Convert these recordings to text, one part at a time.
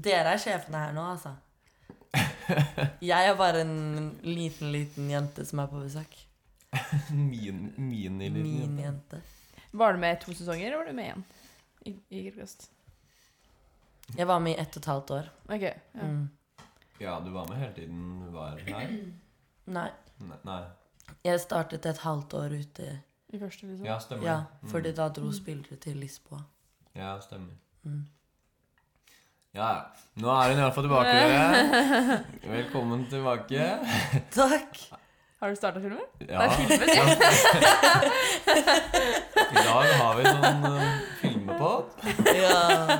Dere er sjefene her nå, altså. Jeg er bare en liten, liten jente som er på besøk. Min, Miniliten Min jente. jente. Var du med i to sesonger, eller var du med igjen? I, i Kirkegost? Jeg var med i ett og et halvt år. Ok. Ja. Mm. Ja, du var med hele tiden du var her? Nei. Nei. nei. Jeg startet et halvt år ute. I første, liksom. Ja, stemmer Ja, det. Mm. fordi da dro spillere til Lisboa. Ja, stemmer. Mm. Ja, ja. Nå er hun i hvert fall tilbake, dere. Velkommen tilbake. Takk! Har du starta filmen? Ja. Det er filmet, I dag har vi sånn uh, filmepod. Ja.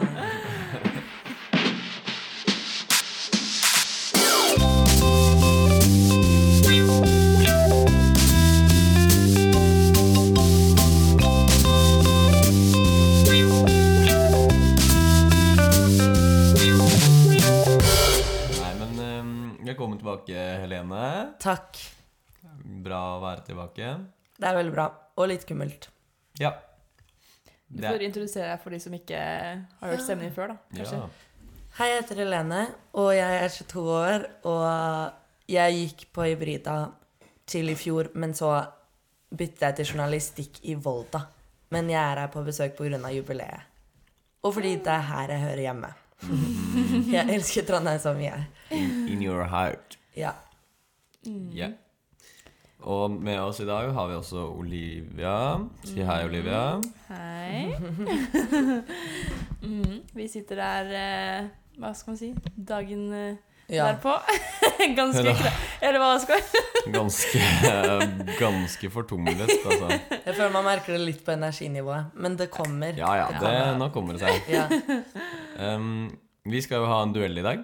Nei, men um, velkommen tilbake, Helene. Takk. Bra å være tilbake. Det er veldig bra. Og litt kummelt. Ja. Du Det- får introdusere deg for de som ikke har hørt stemmen din før, da. Kanskje. ja. Hei, jeg heter Helene, og jeg er 22 år. Og jeg gikk på Hybrida til i fjor, men så byttet jeg til journalistikk i Volda. Men jeg er her på besøk pga. jubileet. Og fordi det er her jeg hører hjemme. Jeg elsker Trondheim så mye. In, in your heart. Ja. Mm. Mhm. Ja. Og med oss i dag har vi også Olivia. Si hei, Olivia. Hei. mm, vi sitter der eh, Hva skal man si? Dagen eh, ja. derpå. Ganske kra... Eller hva skal jeg Ganske, ganske fortumlet, altså. Jeg føler man merker det litt på energinivået, men det kommer. Ja, ja, det, nå kommer det seg. Ja, Um, vi skal jo ha en duell i dag.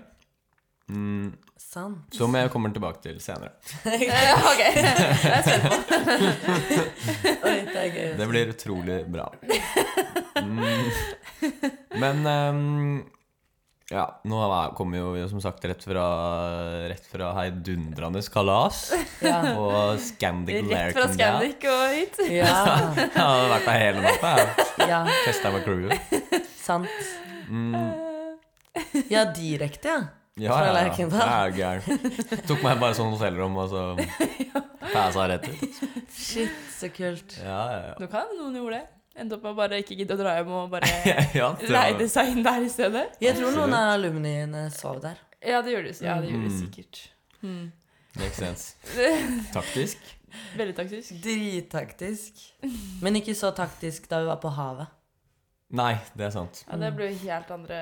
Mm, sant. som jeg kommer tilbake til senere. Eh, Ok. Jeg er spent. Oi, det er gøy. Det blir utrolig bra. Mm, men um, ja, nå er- kommer jo vi som sagt rett fra, rett fra heidundrende kalas Ja. på Scandic Rett Lairton, fra ja. Scandic og hit. Ja, Jeg har vært der hele natta. jeg. ja, Festet med crewet. sant. Mm, Ja, direkte, ja. ja, Fra ja, ja. Jeg Lerkendal. er jo gæren. Tok meg bare sånn hotellrom, og så passa rett ut. Shit, så kult. Ja, ja, ja. Nå kan noen gjorde det. Endte opp med å bare ikke gidde å dra hjem og bare ja, det var- leide seg inn der i stedet. Jeg tror noen av alumniene sov der. Ja, det gjør det, ja, det, gjør det Mm. sikkert. Mm. Makes sense. Taktisk. Veldig taktisk. Drittaktisk. Men ikke så taktisk da vi var på havet. Nei, det er sant. Ja, det ble jo helt andre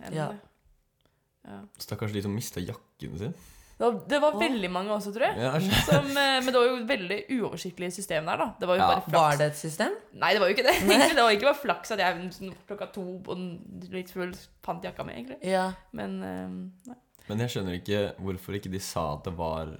enden. Ja. det. Ja. Stakkars de som mista jakken sin. Det var, det var Åh. veldig mange også, tror jeg. Ja, skj- Som, eh, men det var jo et veldig uoversiktlig system der, da. Det var jo Ja, bare flaks. Var det et system? Nei, det var jo ikke det. Egentlig, det var egentlig bare flaks at jeg sånn klokka to og litt full fant jakka mi, egentlig. Ja. Men eh, nei. Men jeg skjønner ikke hvorfor ikke de sa at det var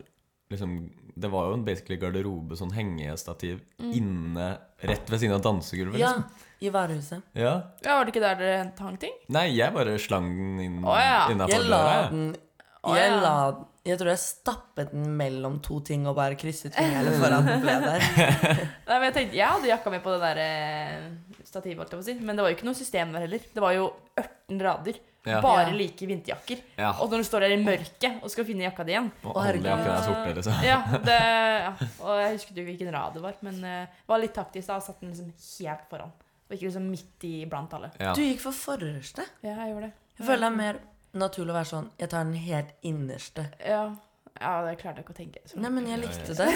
liksom, Det var jo en basically garderobe, sånn hengestativ, inne rett ved siden av dansegulvet. ja. Liksom. I varehuset. Ja. ja, var det ikke der dere hang ting? Nei, jeg bare slang den inn Å, ja. innafor Jeg la døra. jeg. den Å, Jeg ja. la den Jeg tror jeg stappet den mellom to ting og bare krysset fingrene foran den ble der. Nei, men Jeg tenkte, jeg hadde jakka mi på det der eh, stativet, holdt jeg på å si. men det var jo ikke noe system der heller. Det var jo 18 grader. Ja. Bare Ja. like vinterjakker. Ja. Og når du står der i mørket og skal finne jakka di igjen Og Å, alle herregud. jakkene er sorte, liksom. ja, det, ja, og jeg husket jo ikke hvilken rad det var, men eh, det var litt taktisk. da, og Satt den liksom helt foran, og ikke liksom midt i blant alle. Ja. Du gikk for forreste. Ja, jeg gjorde det. Jeg føler det er mer naturlig å være sånn Jeg tar den helt innerste. Ja, ja det klarte jeg ikke å tenke. så Nei, langt. men jeg likte det.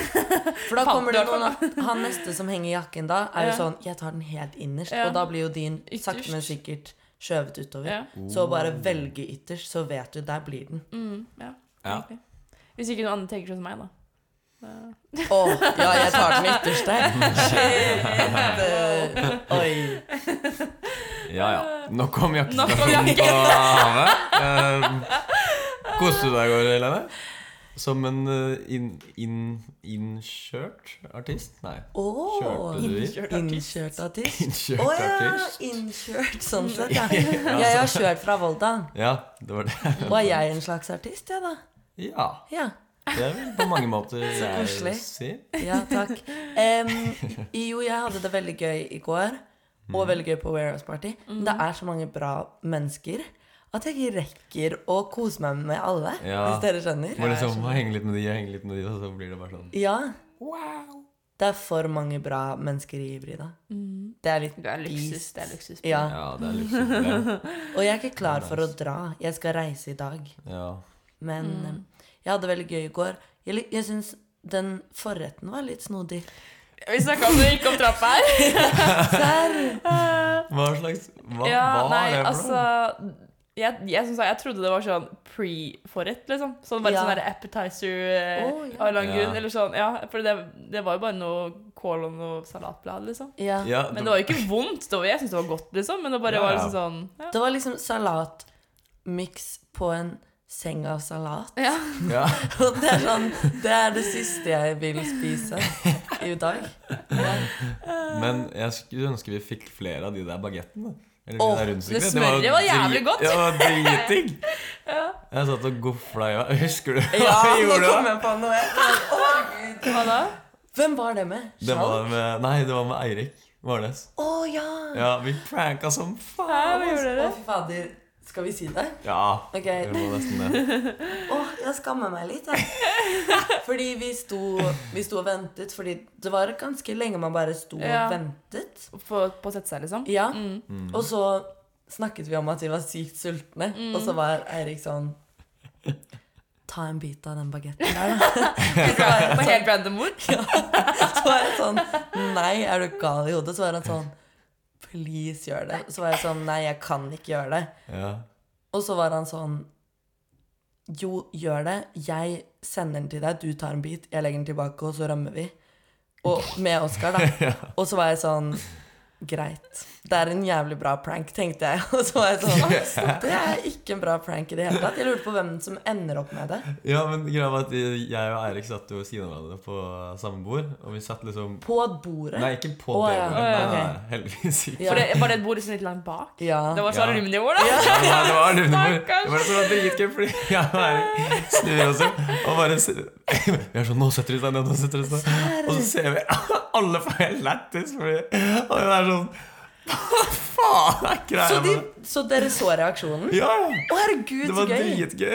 For da Fant kommer du det i noen hvert at Han neste som henger i jakken da, er jo Ja. sånn Jeg tar den helt innerst. Ja. Og da blir jo din sakte, Ytterst. men sikkert skjøvet ja. utover. Så Oh. bare velge ytterst, så vet du. Der blir den. Mm, ja, Ja. egentlig. Hvis ikke noen andre tenker sånn som meg, da. Da- Å, ja, jeg tar den ytterste. Shit. Oi. ja, ja. Nok om Nok om jakkestasjonen jakken. på havet. Um, Koste du deg i går, Helene? Som en uh, inn- inn- innkjørt artist? Nei. Å. Kjørte du i? Innkjørt artist. Innkjørt artist. Å Innkjørt ja, artist? sånn. innkjørt sånn sett, ja. Jeg har kjørt fra Volda. Ja, sånn. det var det. Og er jeg en slags artist, jeg, ja, da? Ja. Ja. Det er vel på mange måter jeg koselig. si. Ja, takk. Em, jo, jeg hadde det Mm. veldig gøy i går, og veldig gøy på Warehouse Party. Men det er så mange bra mennesker. at jeg ikke rekker å kose meg med alle, Ja. hvis dere skjønner. Må liksom henge litt med de og henge litt med de, og så blir det bare sånn. Ja. Wow. Det er for mange bra mennesker i Brida. Det er litt Det Mm. er luksus. beast. Det er luksus. Ja. Ja, det er luksus. det. Og jeg er ikke klar for å dra. Jeg skal reise i dag. Ja. Men Mm. eh, jeg hadde veldig gøy i går. Jeg, lik- jeg syns den forretten var litt snodig. Vi snakka om det gikk opp trappa her. Serr! Hva slags Hva, Ja, hva nei, er det for altså noe? jeg, jeg, som sagt, jeg trodde det var sånn pre-forrett, liksom. Sånn bare Ja. sånn der appetizer eh, Å, ja. av en eller annen Ja. grunn. Eller sånn, ja, for det, det var jo bare noe kål og noe salatblad, liksom. Ja. Ja, Men det var jo ikke vondt. Det var, jeg syntes det var godt, liksom. Men det bare Ja, var ja. liksom sånn ja. Det var liksom salatmiks på en seng av salat. Ja. ja. Og det er sånn Det er det siste jeg vil spise i dag. Men jeg skulle ønske vi fikk flere av de der bagettene. Eller de Åh, der rundstykkene. det jo smøret var jævlig drit- godt. Det var dritdigg. Jeg satt og gofla i meg. Husker du hva Ja, jeg nå gjorde? kom jeg på noe. Å, Gud. Hva da? Hvem var det med? Det var Skjalg? med, nei, det var med Eirik Varnes. Å ja! Ja, vi pranka som Hæ, faen. hva gjorde Å, dere? fy fader. Skal vi si det? Ja, Ok. vi må nesten det. Å, jeg skammer meg litt, jeg. Fordi vi sto, vi sto og ventet, fordi det var ganske lenge man bare sto Ja. og ventet. På, på å sette seg, liksom? Ja. Mm. Og så snakket vi om at vi var sykt sultne, og så var Eirik sånn Ta en bit av den bagetten der, da. så var jeg På sånn, helt random ord? så var jeg sånn Nei, er du gal i hodet? Så var han sånn Please, gjør det. Så var jeg sånn Nei, jeg kan ikke gjøre det. Ja. Og så var han sånn Jo, gjør det. Jeg sender den til deg. Du tar en bit, jeg legger den tilbake, og så rømmer vi. Og med Oskar, da. Og så var jeg sånn Greit. Det er en jævlig bra prank, tenkte jeg. Og så var jeg sånn Det er ikke en bra prank i det hele tatt. Jeg lurte på hvem som ender opp med det. ja, men greia var at jeg og Eirik satt jo ved siden av hverandre på samme bord, og vi satt liksom På bordet. Nei, ikke på Å, det ja. bordet. Å, ja, Nei, ok. nei, nei, heldigvis ikke. Ja. For det, var det et bord som litt langt bak? Det Ja. var så Ja. aluminiumord, da. Ja, nei, det var aluminium. Stakkars. Det var det som var dritgøy, fordi jeg og Eirik snur oss opp og bare s- Vi er sånn Nå setter vi oss ned, nå setter vi oss ned. Og så ser vi alle får helt lættis, fordi Og det er sånn Hva faen er greia Så, de, med det? så dere så reaksjonen? Ja, Å, herregud, det så var gøy! dritgøy.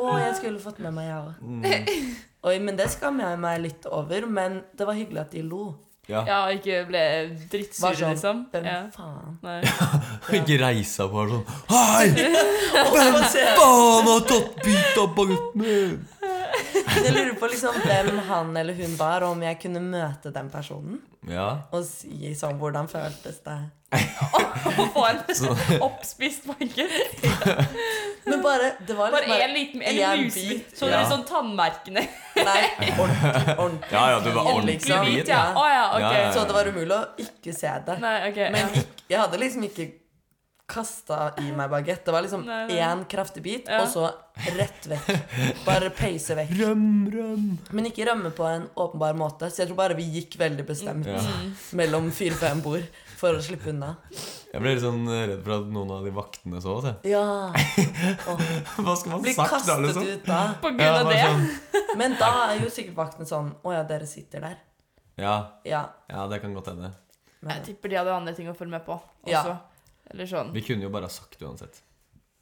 Å, jeg skulle fått med meg, jeg òg. Mm. Oi, men det skammer jeg meg litt over. Men det var hyggelig at de lo. Ja. Ja, og ikke ble drittsure, Var sånn, liksom. Hvem Ja. faen? Nei. Og ikke reisa på og sånn Hei! Hvem faen? Faen, har tatt bit av bagutten min! Jeg lurer på liksom hvem han eller hun var, og om jeg kunne møte den personen. Ja. Og si sånn Hvordan føltes det? Å få en oppspist banker. Men bare Det var Altså, Bare liksom en liten en en musebit. bit. Så Ja. dere sånn tannmerkene? Nei, ordentlig. ordentlig Ja, ja, det var fin, ordentlig liksom. hvit, Hvit, ja. Å ja, ok. Ja, ja, ja. Så det var umulig å ikke se det. Nei, ok. Men ja. ikk- jeg hadde liksom ikke kasta i meg bagett. Det var liksom Nei, nei. én kraftig bit, Ja. og så rett vekk. Bare peise vekk. Røm, røm. Men ikke rømme på en åpenbar måte, så jeg tror bare vi gikk veldig bestemt Ja. mellom fire-fem bord for å slippe unna. Jeg ble litt sånn redd for at noen av de vaktene så oss. jeg. Ja. Hva skal man Bli sagt da, kastet liksom? ut da. På grunn Ja, av bare det? sånn, Men da er jo sikkert vakten sånn Å ja, dere sitter der. ja, Ja. ja, det kan godt hende. Men, Jeg tipper de hadde andre ting å følge med på også. Ja. Eller sånn. Vi kunne jo bare ha sagt det uansett.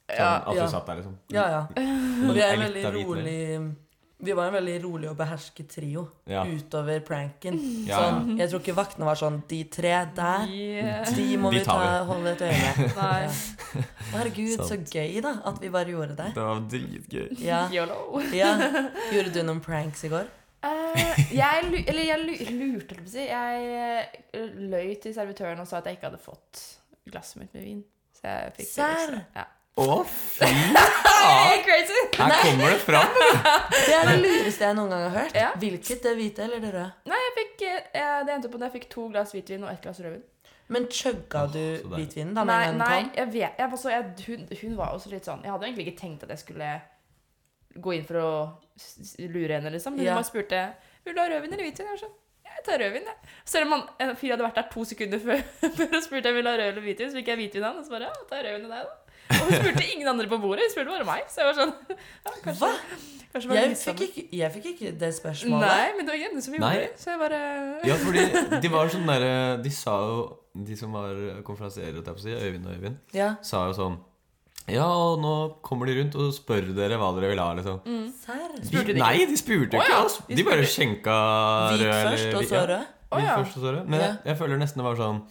Sånn, Ja. at ja. du satt der, liksom. ja, ja. Og vi er en Jeg veldig likte å vite det. rolig Vi var en veldig rolig og behersket trio Ja. utover pranken. Mm. Ja, ja. Sånn, jeg tror ikke vaktene var sånn De tre der, Yeah. de må De vi ta, tar vi. holde et øye med. Nei. Å, Herregud, så gøy, da. At vi bare gjorde det. Det var dritgøy. Ja. Yolo. ja. Gjorde du noen pranks i går? Eh, jeg, lu- eller jeg lu- lurte, holdt jeg på å si. Jeg eh, løy til servitøren og sa at jeg ikke hadde fått glasset mitt med vin. Så jeg fikk det Serr? ekstra. Ja. Å, fy faen! Hey, crazy! Her kommer det fram! Det er det lureste jeg noen gang har hørt. Ja. Hvilket? Det hvite eller det røde? Nei, jeg fikk, eh, det endte på at jeg fikk to glass hvitvin og ett glass rødvin. Men chugga Åh, du så deilig. hvitvinen da med Nei, en gang nei den kom? jeg vet, jeg, var så- jeg, hun, hun var også litt sånn Jeg hadde egentlig ikke tenkt at jeg skulle gå inn for å s- s- lure henne, liksom. Men Ja. hun bare spurte Vil du ha rødvin eller hvitvin. Jeg var sånn Jeg tar rødvin, jeg. Selv om han, en fyr hadde vært der to sekunder før før og spurte om jeg ville ha rød eller hvitvin, så fikk jeg hvitvin av han, og så bare Ja, ta rødvin av deg, da. Og hun spurte ingen andre på bordet, hun spurte bare meg. Så jeg var sånn ja, kanskje, Hva? kanskje bare Jeg litt fikk, sammen. ikke, jeg fikk ikke det spørsmålet. Nei, men det var ikke henne som gjorde Nei. det. Så jeg bare øh. Ja, fordi de var sånn derre De sa jo De som var konferansierer, holdt jeg på å si, Øyvind og Øyvind, Ja. sa jo sånn Ja, og nå kommer de rundt og spør dere hva dere vil ha, liksom. Mm. Serr? De, Spurte de ikke? nei, de spurte jo Å ikke. ja, ass. de De bare skjenka Hvit rød eller- først, og så ja, rød? Å hvit ja. først og så rød. Men jeg, Ja. jeg føler nesten det var sånn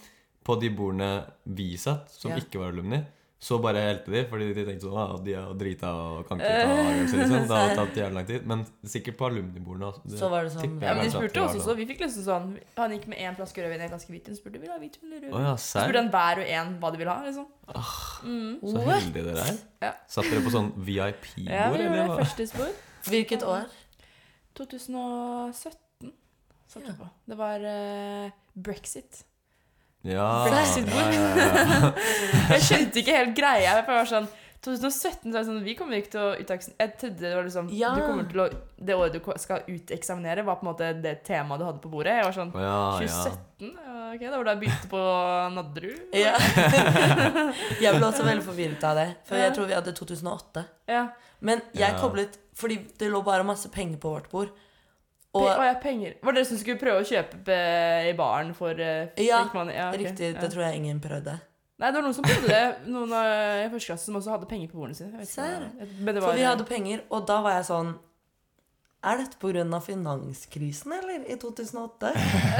På de bordene vi satt, som Ja. ikke var alumni, så bare helte de, fordi de tenkte sånn ah, De er jo drita og kan ikke ta avgjørelser, liksom. Det har tatt jævlig lang tid. Men sikkert på alumnibordene også. Det Så var det sånn- tipper jeg Ja, men kanskje De at spurte det var også, sånn. så vi fikk liksom sånn Han gikk med én flaske rødvin og en flaske hvitvin. Spurte vil du ha hvitvin Å eller rødvin. ja, Så serr? spurte han hver og en hva de ville ha. liksom Så What? heldige dere er. Ja. Satt dere på sånn Ja, VIP-bord, vi gjorde eller det hva? første spor. Hvilket år? 2017 satt jeg Ja. på. Det var eh, brexit. Ja, Brexit-bord. Ah, ja, ja. Jeg skjønte ikke helt greia. for Jeg var sånn 2017 så var jeg sånn, Vi kommer ikke til å uteksaminere Jeg trodde det var liksom Ja. du kommer til å, Det året du ko- skal uteksaminere, var på en måte det temaet du hadde på bordet. Jeg var sånn Å ja, ja. 2017? Ja, Ok, Det var da jeg begynte på Nadderud. Ja. jeg ble også veldig forvirret av det, for jeg tror vi hadde 2008. Ja. Men jeg Ja. koblet Fordi det lå bare masse penger på vårt bord. Og, Og ja, penger. Var det dere som skulle prøve å kjøpe be- i baren for eh, Ja, fikk man- ok, riktig, ja. det tror jeg ingen prøvde. Nei, det var noen som prøvde det. Noen eh, i første klasse som også hadde penger på bordene sine. Jeg vet ikke hva det var. Men det For var vi hadde penger, og da var jeg sånn Er dette pga. finanskrisen, eller? I 2008?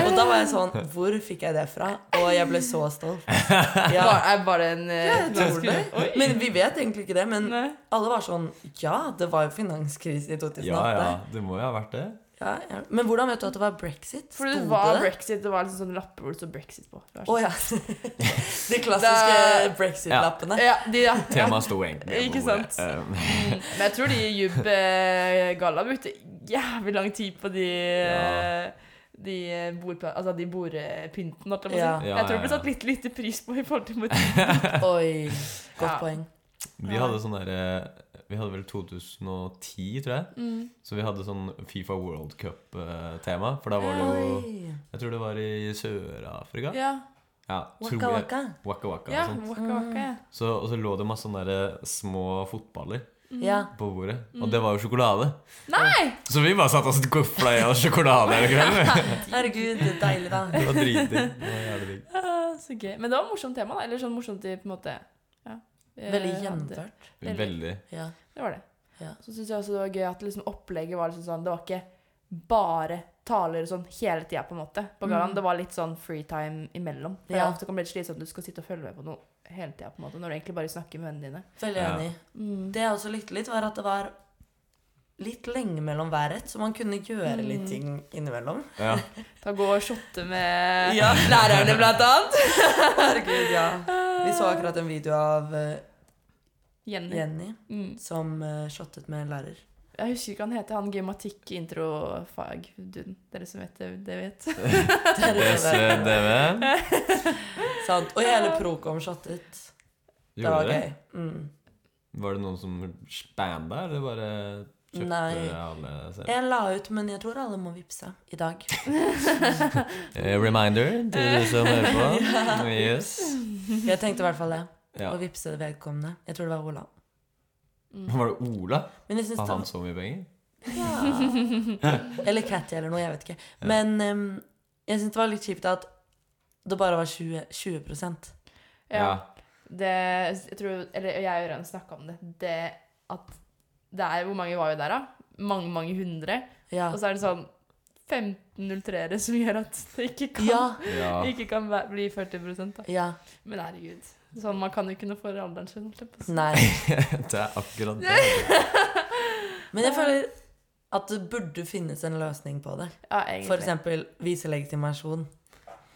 Og da var jeg sånn Hvor fikk jeg det fra? Og jeg ble så stolt. var, Ja. er- var det en jeg eh, tror det. Oi. Men vi vet egentlig ikke det. Men Nei. alle var sånn Ja, det var jo finanskrise i 2008. Ja, ja. Det må jo ha vært det. Ja, ja. Men hvordan vet du at det var brexit? Fordi det Sto var det det? brexit. Det var liksom sånn lapper hvor det stod brexit på. Det var Å sånn. ja. De klassiske Da- brexit-lappene. sånn. ja, de, ja, ja. Temaet sto egentlig på Ikke bordet. sant? Um, Men jeg tror de i Jubb eh, Galla brukte jævlig lang tid på de eh, De eh, bordpla- altså de bordpynten, holdt jeg på å si. Ja. Ja, Jeg tror det ja, ble ja. satt litt lite pris på i forhold til hvor tid. Oi. Godt Ja. poeng. Vi hadde sånn derre Vi hadde vel 2010, tror jeg. Mm. Så vi hadde sånn Fifa World Cup-tema. For da var det jo Oi. Jeg tror det var i Sør-Afrika. Ja. Ja, Waka tror jeg. waka. Waka Waka. ja, og sånt. waka Mm. waka. ja. Så, og så lå det masse sånne der eh, små fotballer Ja. på bordet. Mm. Og det var jo sjokolade. Mm. Nei! Så vi bare satt oss og gofla i oss sjokolade hele kvelden. Herregud, det er deilig, da. Det var dritdigg. Det var jævlig digg. Ah, Så gøy. Men det var et morsomt tema, da. Eller sånn morsomt i på en måte ja. Eh, Veldig gjennomført. Veldig. Veldig. Ja. Det var det. Ja. Så syns jeg også det var gøy at liksom opplegget var liksom sånn Det var ikke bare taler og sånn hele tida, på en måte. På gallaen. Det var litt sånn freetime imellom. For Mm. Ja. det ofte kan bli litt slitsomt du skal sitte og følge med på noe hele tida, på en måte, når du egentlig bare snakker med vennene dine. Veldig Ja. enig. Det jeg også likte litt, var at det var litt lenge mellom hver rett, så man kunne gjøre Mm. litt ting innimellom. Ja. Ta og Gå og shotte med Ja. lærerne, blant annet. Herregud, ja. Vi så akkurat en video av eh, Jenny. Jenny Mm. som eh, shottet med en lærer. Jeg husker ikke hva han heter, han grammatikk-introfag-duden. Dere som vet det, det vet. eh, Herregud, SDV. Sant. Og hele Prokom shottet. Det Gjorde var dere? gøy. Mm. Var det noen som spanda, eller bare kjøpte Nei. alle selv? Jeg la ut, men jeg tror alle må vippse i dag. Eh, reminder til dere som hører på. Yes. Jeg tenkte i hvert fall det. Ja. Å vippse vedkommende. Jeg tror det var Ola. Mm. Var det Ola? Men jeg syns Har det Sånn. han så mye penger? Ja. Eller Catty eller noe, jeg vet ikke. Men em, jeg syns det var litt kjipt at det bare var 20, 20 Ja. Det, jeg tror, eller jeg og Ørjan snakka om det. det at det er, Hvor mange var vi der, da? Mange, mange hundre. Ja. Og så er det sånn 1503-ere som gjør at det ikke kan, ja. Ja. ikke kan væ- bli 40 da. Ja. Men herregud. Sånn, man kan jo ikke noe for alderen sin. holdt jeg på å si. Nei. Det er akkurat det. Men jeg føler at det burde finnes en løsning på det. Ja, For egentlig. eksempel vise legitimasjon.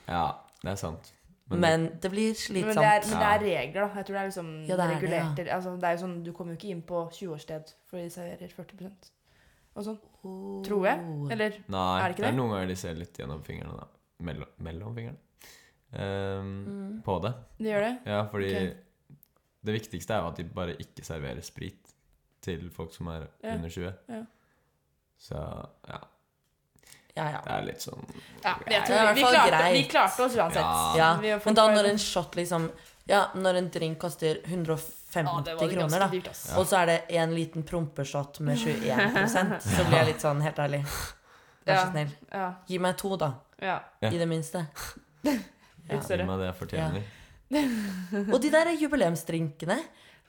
Ja, det er sant. Men det blir Men det, er, slitsomt. men det er regler, da. Jeg tror det er liksom Ja, det er det, regulerte altså, det er jo sånn, Du kommer jo ikke inn på 20-årssted fordi de serverer 40 og sånn. Tror jeg. Oh. Eller Nei, det, Er det ikke er det? noen ganger de ser litt gjennom fingrene, da. Mellom, mellom fingrene. Mm. Ehm, På det. de gjør det. Ja, fordi Mm. Ok. det viktigste er jo at de bare ikke serverer sprit til folk som er Ja. under 20. Ja. Så ja, Ja, ja. det er litt sånn Ja, jeg Det er i tror hvert vi, vi, fall klarte, greit. vi klarte oss uansett. Ja. ja. Vi har fått Men da bare- når en shot liksom Ja, når en drink koster 150 Ja, det var kroner, ganske da. dyrt, ass. Og så er det en liten prompeshot med 21 Så blir jeg litt sånn, helt ærlig Vær så Ja. snill Ja, Gi meg to da, ja. Ja. i det minste Litt Gi større. meg det jeg fortjener. Og de der jubileumsdrinkene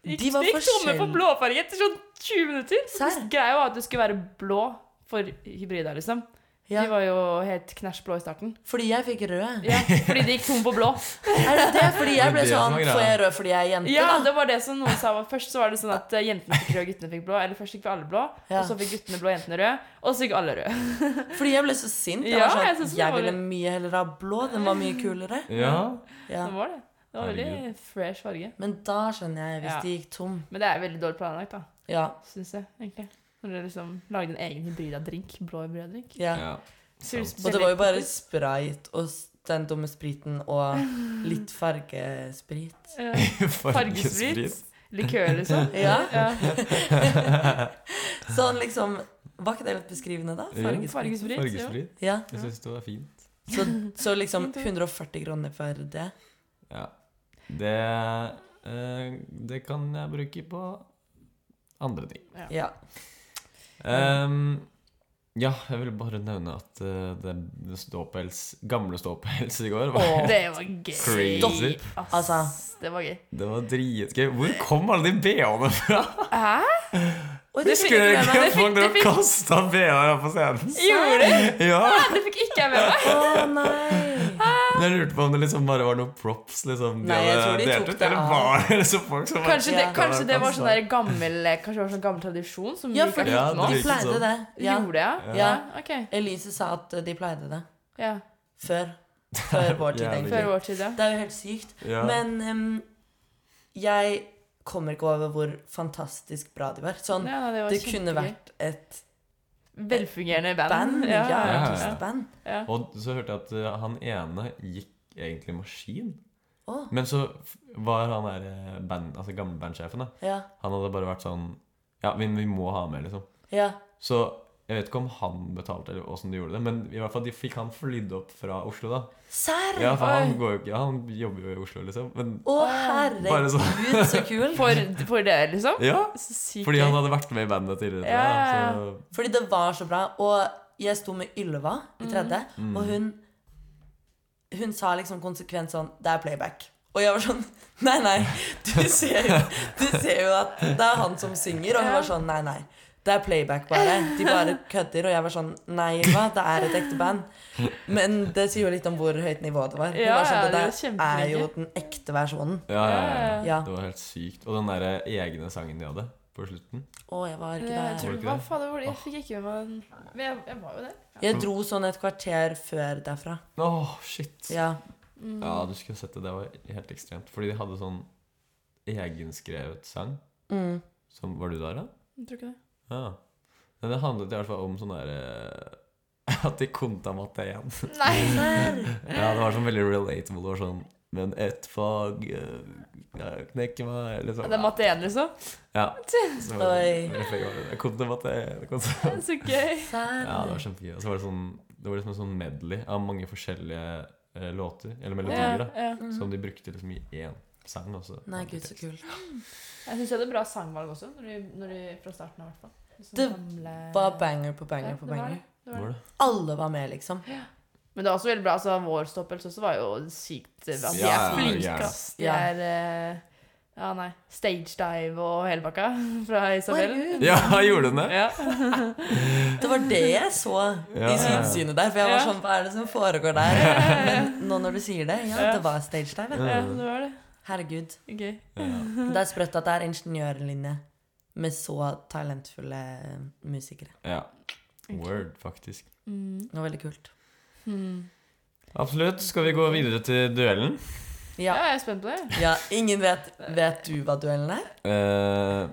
Gikk, De var gikk tomme for forskjell- blåfarge etter sånn 20 minutter. Så Serr? Greia var at det skulle være blå for hybrida, liksom. Ja. De var jo helt knæsj blå i starten. Fordi jeg fikk rød. Ja, fordi de gikk tom for blå. Er det det? Fordi jeg ble Det er det som sånn er greia. Får jeg rød fordi jeg er jente, Ja, da? det var det som noen sa var Først så var det sånn at eh, jentene fikk rød, guttene fikk blå. Eller først fikk vi alle blå, Ja. og så fikk guttene blå, jentene rød. Og så fikk alle rød. Fordi jeg ble så sint. Jeg, Ja, var sånn, jeg jeg, synes det var ville litt- mye heller ha blå. Den var mye kulere. Ja. Ja. Det var det. Det var veldig Herregud. fresh farge. Men da skjønner jeg, hvis Ja. de gikk tom. Men det er veldig dårlig planlagt, da. Ja, Syns jeg, egentlig. Når dere liksom lagde en egen hybrida drink. Blå hybrida drink. ja. ja. Og det var jo bare sprite og s- den dumme spriten og litt fargesprit. Eh, Fargesprit. Likør, liksom. Ja. Ja. Sånn liksom Var ikke det litt beskrivende, da? Jo. Fargesprit. Fargesprit. Ja. Fargesprit. Ja. Jeg syns det var fint. Så, så liksom Fint ord. 140 kroner for det. Ja. Det, eh, det kan jeg bruke på andre ting. Ja. Ehm, ja, jeg ville bare nevne at eh, den ståpels, gamle ståpels i går var, Det var gøy. Crazy. Ass, Altså. Det var gøy. Det var dritgøy. Hvor kom alle de bh-ene fra? Hæ? Og Det det fikk fikk Husker jeg ikke med meg. dere ikke at folk Det drev fikk- og kasta bh-er på scenen? Gjorde det? Ja! Det fikk ikke jeg med meg. Å nei. Men Jeg lurte på om det liksom bare var noen props liksom, Nei, jeg tror de delt tok ut, det Eller av. var det liksom folk som Kanskje det, Ja. kanskje det var sånn der gammel Kanskje det var sånn gammel tradisjon som vi Ja, ikke for har de, Ja, hørt det nå? de virket pleide sånn. det. Ja. Gjorde jeg? Ja. ok. Elise sa at de pleide det. Ja. Før. Før vår tid, Jævlig. Før egentlig. vår tid, ja. Det er jo helt sykt. Ja. Men em, jeg kommer ikke over hvor fantastisk bra de var. Sånn, ja nei, det var det kunne kjempegøy. vært et Velfungerende band. band. Ja, ja. artistband. ja. Og så hørte jeg at eh, han ene gikk egentlig maskin. Å. Men så f- var han der eh, band, altså gamle bandsjefen, da. Ja. Han hadde bare vært sånn Ja, men vi må ha med, liksom. ja. Så jeg vet ikke om han betalte, eller åssen de gjorde det, men i hvert fall de fikk han flydd opp fra Oslo, da. Serr! Ja, for han, Oi. går jo ikke, ja, han jobber jo i Oslo, liksom. Men Å, Bare herregud, så kult! For, for det, liksom? ja! Så sykt Fordi han gøy. hadde vært med i bandet tidligere. Ja. Da, så Fordi det var så bra. Og jeg sto med Ylva i tredje, og hun Hun sa liksom konsekvent sånn Det er playback. Og jeg var sånn Nei, nei. Du ser jo, du ser jo at det er han som synger. Og hun var sånn Nei, nei. Det er playback, bare. De bare kødder. Og jeg var sånn Nei, Ylva. Det er et ekte band. Men det sier jo litt om hvor høyt nivå det var. Hun Ja, var sånn, ja, det det er der er jo kjempelenge." den ekte versjonen. Ja, ja, ja. Ja. Det var helt sykt. Og den der eh, egne sangen de hadde på slutten. Å, jeg var ikke Ja, jeg der. Var tror det Hva ikke det? fader var det? Jeg fikk ikke med meg Men jeg, jeg var jo der. Ja. Jeg dro sånn et kvarter før derfra. Åh, shit! Ja. Ja. Mm. du skulle sett det. Det var helt ekstremt. Fordi de hadde sånn egenskrevet sang. Mm. Som, var du der, da? Jeg tror ikke det. Ja. Men det handlet i hvert fall om sånn derre At de konta matte igjen. Nei. Ja, det var sånn veldig relatable. Det var sånn Men ett fag eh, knekker meg liksom. Det er matte 1, liksom. Ja. Så var Oi. det sånn, refleks var det, Konta matte konta Det er Så gøy. Serr. Ja, det var kjempegøy. Og så var det sånn Det var liksom en sånn medley av mange forskjellige eh, låter, eller Ja, melodier, da. ja. Som de brukte liksom i én sang. Også. Mm. Nei, gud, så kult. Jeg syns jeg hadde bra sangvalg også, når du, når du, fra starten av i hvert fall. Liksom Det gamle- Bare banger på banger Ja, på det var banger. det. Det var Var det. det? Alle var med, liksom. Men det var også veldig bra. Altså, vår stoppelse også var jo sykt altså, De Ja, er flinke, ja. ass. De Ja. er eh, Ja, nei. Stage dive og hele pakka fra Isabel. Herregud. Ja, gjorde den det? Ja. Det var det jeg så Ja. i synsynet der. For jeg var Ja. sånn, hva er det som foregår der? Men nå når du sier det, ja, det var stage dive. ja, det var det. Herregud. Gøy. Mhm. Det er sprøtt at det er ingeniørlinje med så talentfulle eh, musikere. Ja. Word, faktisk. Mm, Det var veldig kult. hmm. Absolutt. Skal vi gå videre til duellen? Ja, Ja, jeg er spent på det. ja ingen vet Vet du hva duellen er? Eh,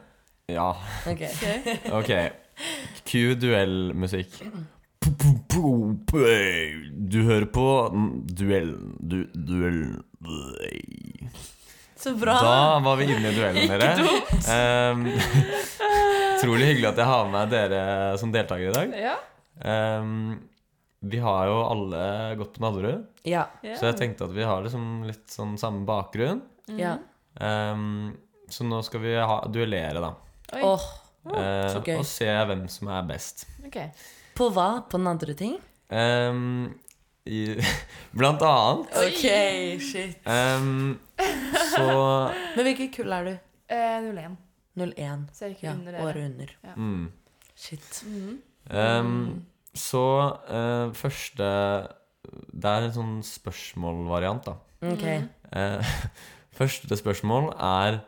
ja, Ok. Ok. OK. Cue duellmusikk. Du hører på duellen du, Duellen Så bra. Da var vi inne i duellen, dere. Ikke dumt. Ehm, Utrolig hyggelig at jeg har med dere som deltakere i dag. Ja. Ehm, vi har jo alle gått på Nadderud, Ja. ja. så jeg tenkte at vi har liksom litt sånn samme bakgrunn. Mhm. ja. Ehm, så nå skal vi ha, duellere, da. Oi. Åh, Ah, Ehm, så gøy. og se hvem som er best. Ok. på hva? På den andre ting? Ehm, i, blant annet Ok, shit. ehm, så Men hvilket kull er du? Eh, 01. 01. Ser ikke Ja, under Mhm. dere. året under. Mm. Shit. Mm. Ehm, så eh, første Det er en sånn spørsmålvariant, da. Mhm. Ok. Eh, første spørsmål er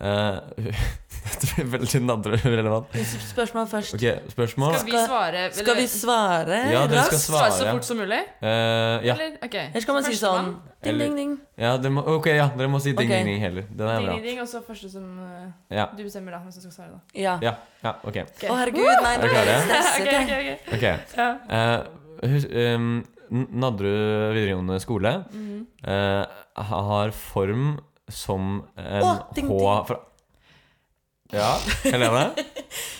eh, Dette blir veldig nadre relevant. S- Spørsmål først. Ok, spørsmål. Skal vi svare Skal vi svare Ja, dere skal raskt? svare. så fort som mulig? Eh, ja, Eller? Ok. Eller skal man si sånn Førstemann. ding, ding, ding? ja, dere må, ok, ja, dere må si ding, Ok. ding, ding heller. Den er Ding, bra. ding, ding, og så første som eh, Ja, du bestemmer, da. Hvem som skal svare, da. Ja. ja, ja ok. Å, herregud, nei, Er nå er jeg dere klare? stresset. Ok, ok, jeg. ok. Ok. Ja. Eh, hus- ehm, N- Nadderud videregående skole Mhm. eh, har form som en Å, ding, H ding. fra Ja, Helene?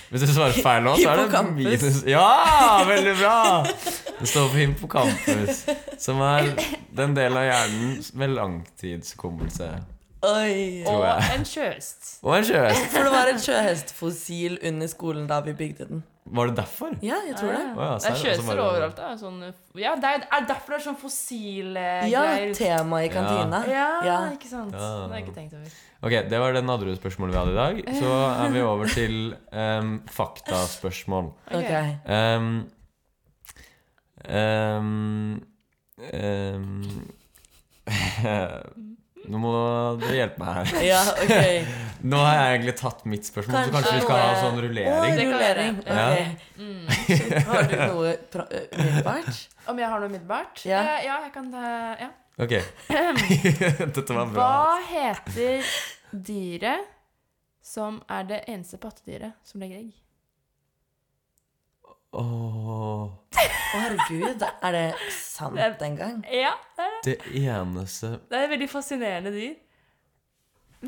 Hvis du svarer feil nå, så er det Hippocampus. minus Ja, veldig bra! Det står for hippocampus, som er den delen av hjernen med langtidshukommelse. Oi. Tror jeg. Og en sjøhest. Og en sjøhest. For det var et sjøhestfossil under skolen da vi bygde den. Var det derfor? Ja, jeg tror det. Å ja, Det så er det- er og så sjøhester bare- overalt. Da. Sånn, ja, det er, er derfor det er sånn fossile Ja, greier. tema i kantina. Ja, Ja. ikke sant? Ja. Det har jeg ikke tenkt over. Ok, Det var det Nadderud-spørsmålet vi hadde i dag. Så er vi over til ehm, faktaspørsmål. Ok. Ehm, ehm, ehm, Nå må dere hjelpe meg her. Ja, ok. Nå har jeg egentlig tatt mitt spørsmål, så kanskje vi skal ha sånn Å, rullering. Det kan rullering. være. Ja. Ok. Shit, Har du noe pra- ø, umiddelbart? Mm. Om jeg har noe umiddelbart? Ja. Eh, ja, jeg kan eh, ja. Ok, Dette var bra. Hva heter dyret som er det eneste pattedyret som legger egg? Åh, Å, herregud, er det sant en gang? Ja, det er det. det eneste Det er et veldig fascinerende dyr.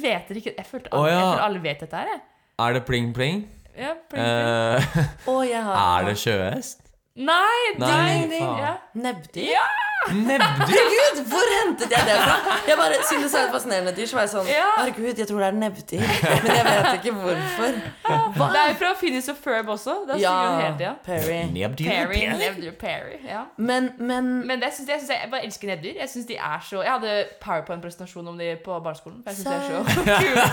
Vet dere ikke Jeg følte Å, alle, jeg ja. følte alle vet dette her, jeg. Er det pling pling? Ja, pling, pling. Eh, Å, jeg har er det sjøhest? nei, Nei, ding, ding. faen. Ja. Nebbdyr? Ja. Nebbdyr? Herregud, hvor hentet jeg det fra? Jeg bare syntes det var et fascinerende dyr, så var jeg sånn Ja. Herregud, jeg tror det er nebbdyr, men jeg vet ikke hvorfor. Det er jo fra Phineas og Ferb også. Da synger hun hele tida. Perry. Nebbdyr? Perry, Nebbdyr, Perry. Ja. Men, men Men det synes jeg, synes jeg, jeg bare elsker nebbdyr. Jeg synes de er så Jeg hadde powerpoint-presentasjon om de på barneskolen. For jeg synes de er så kule.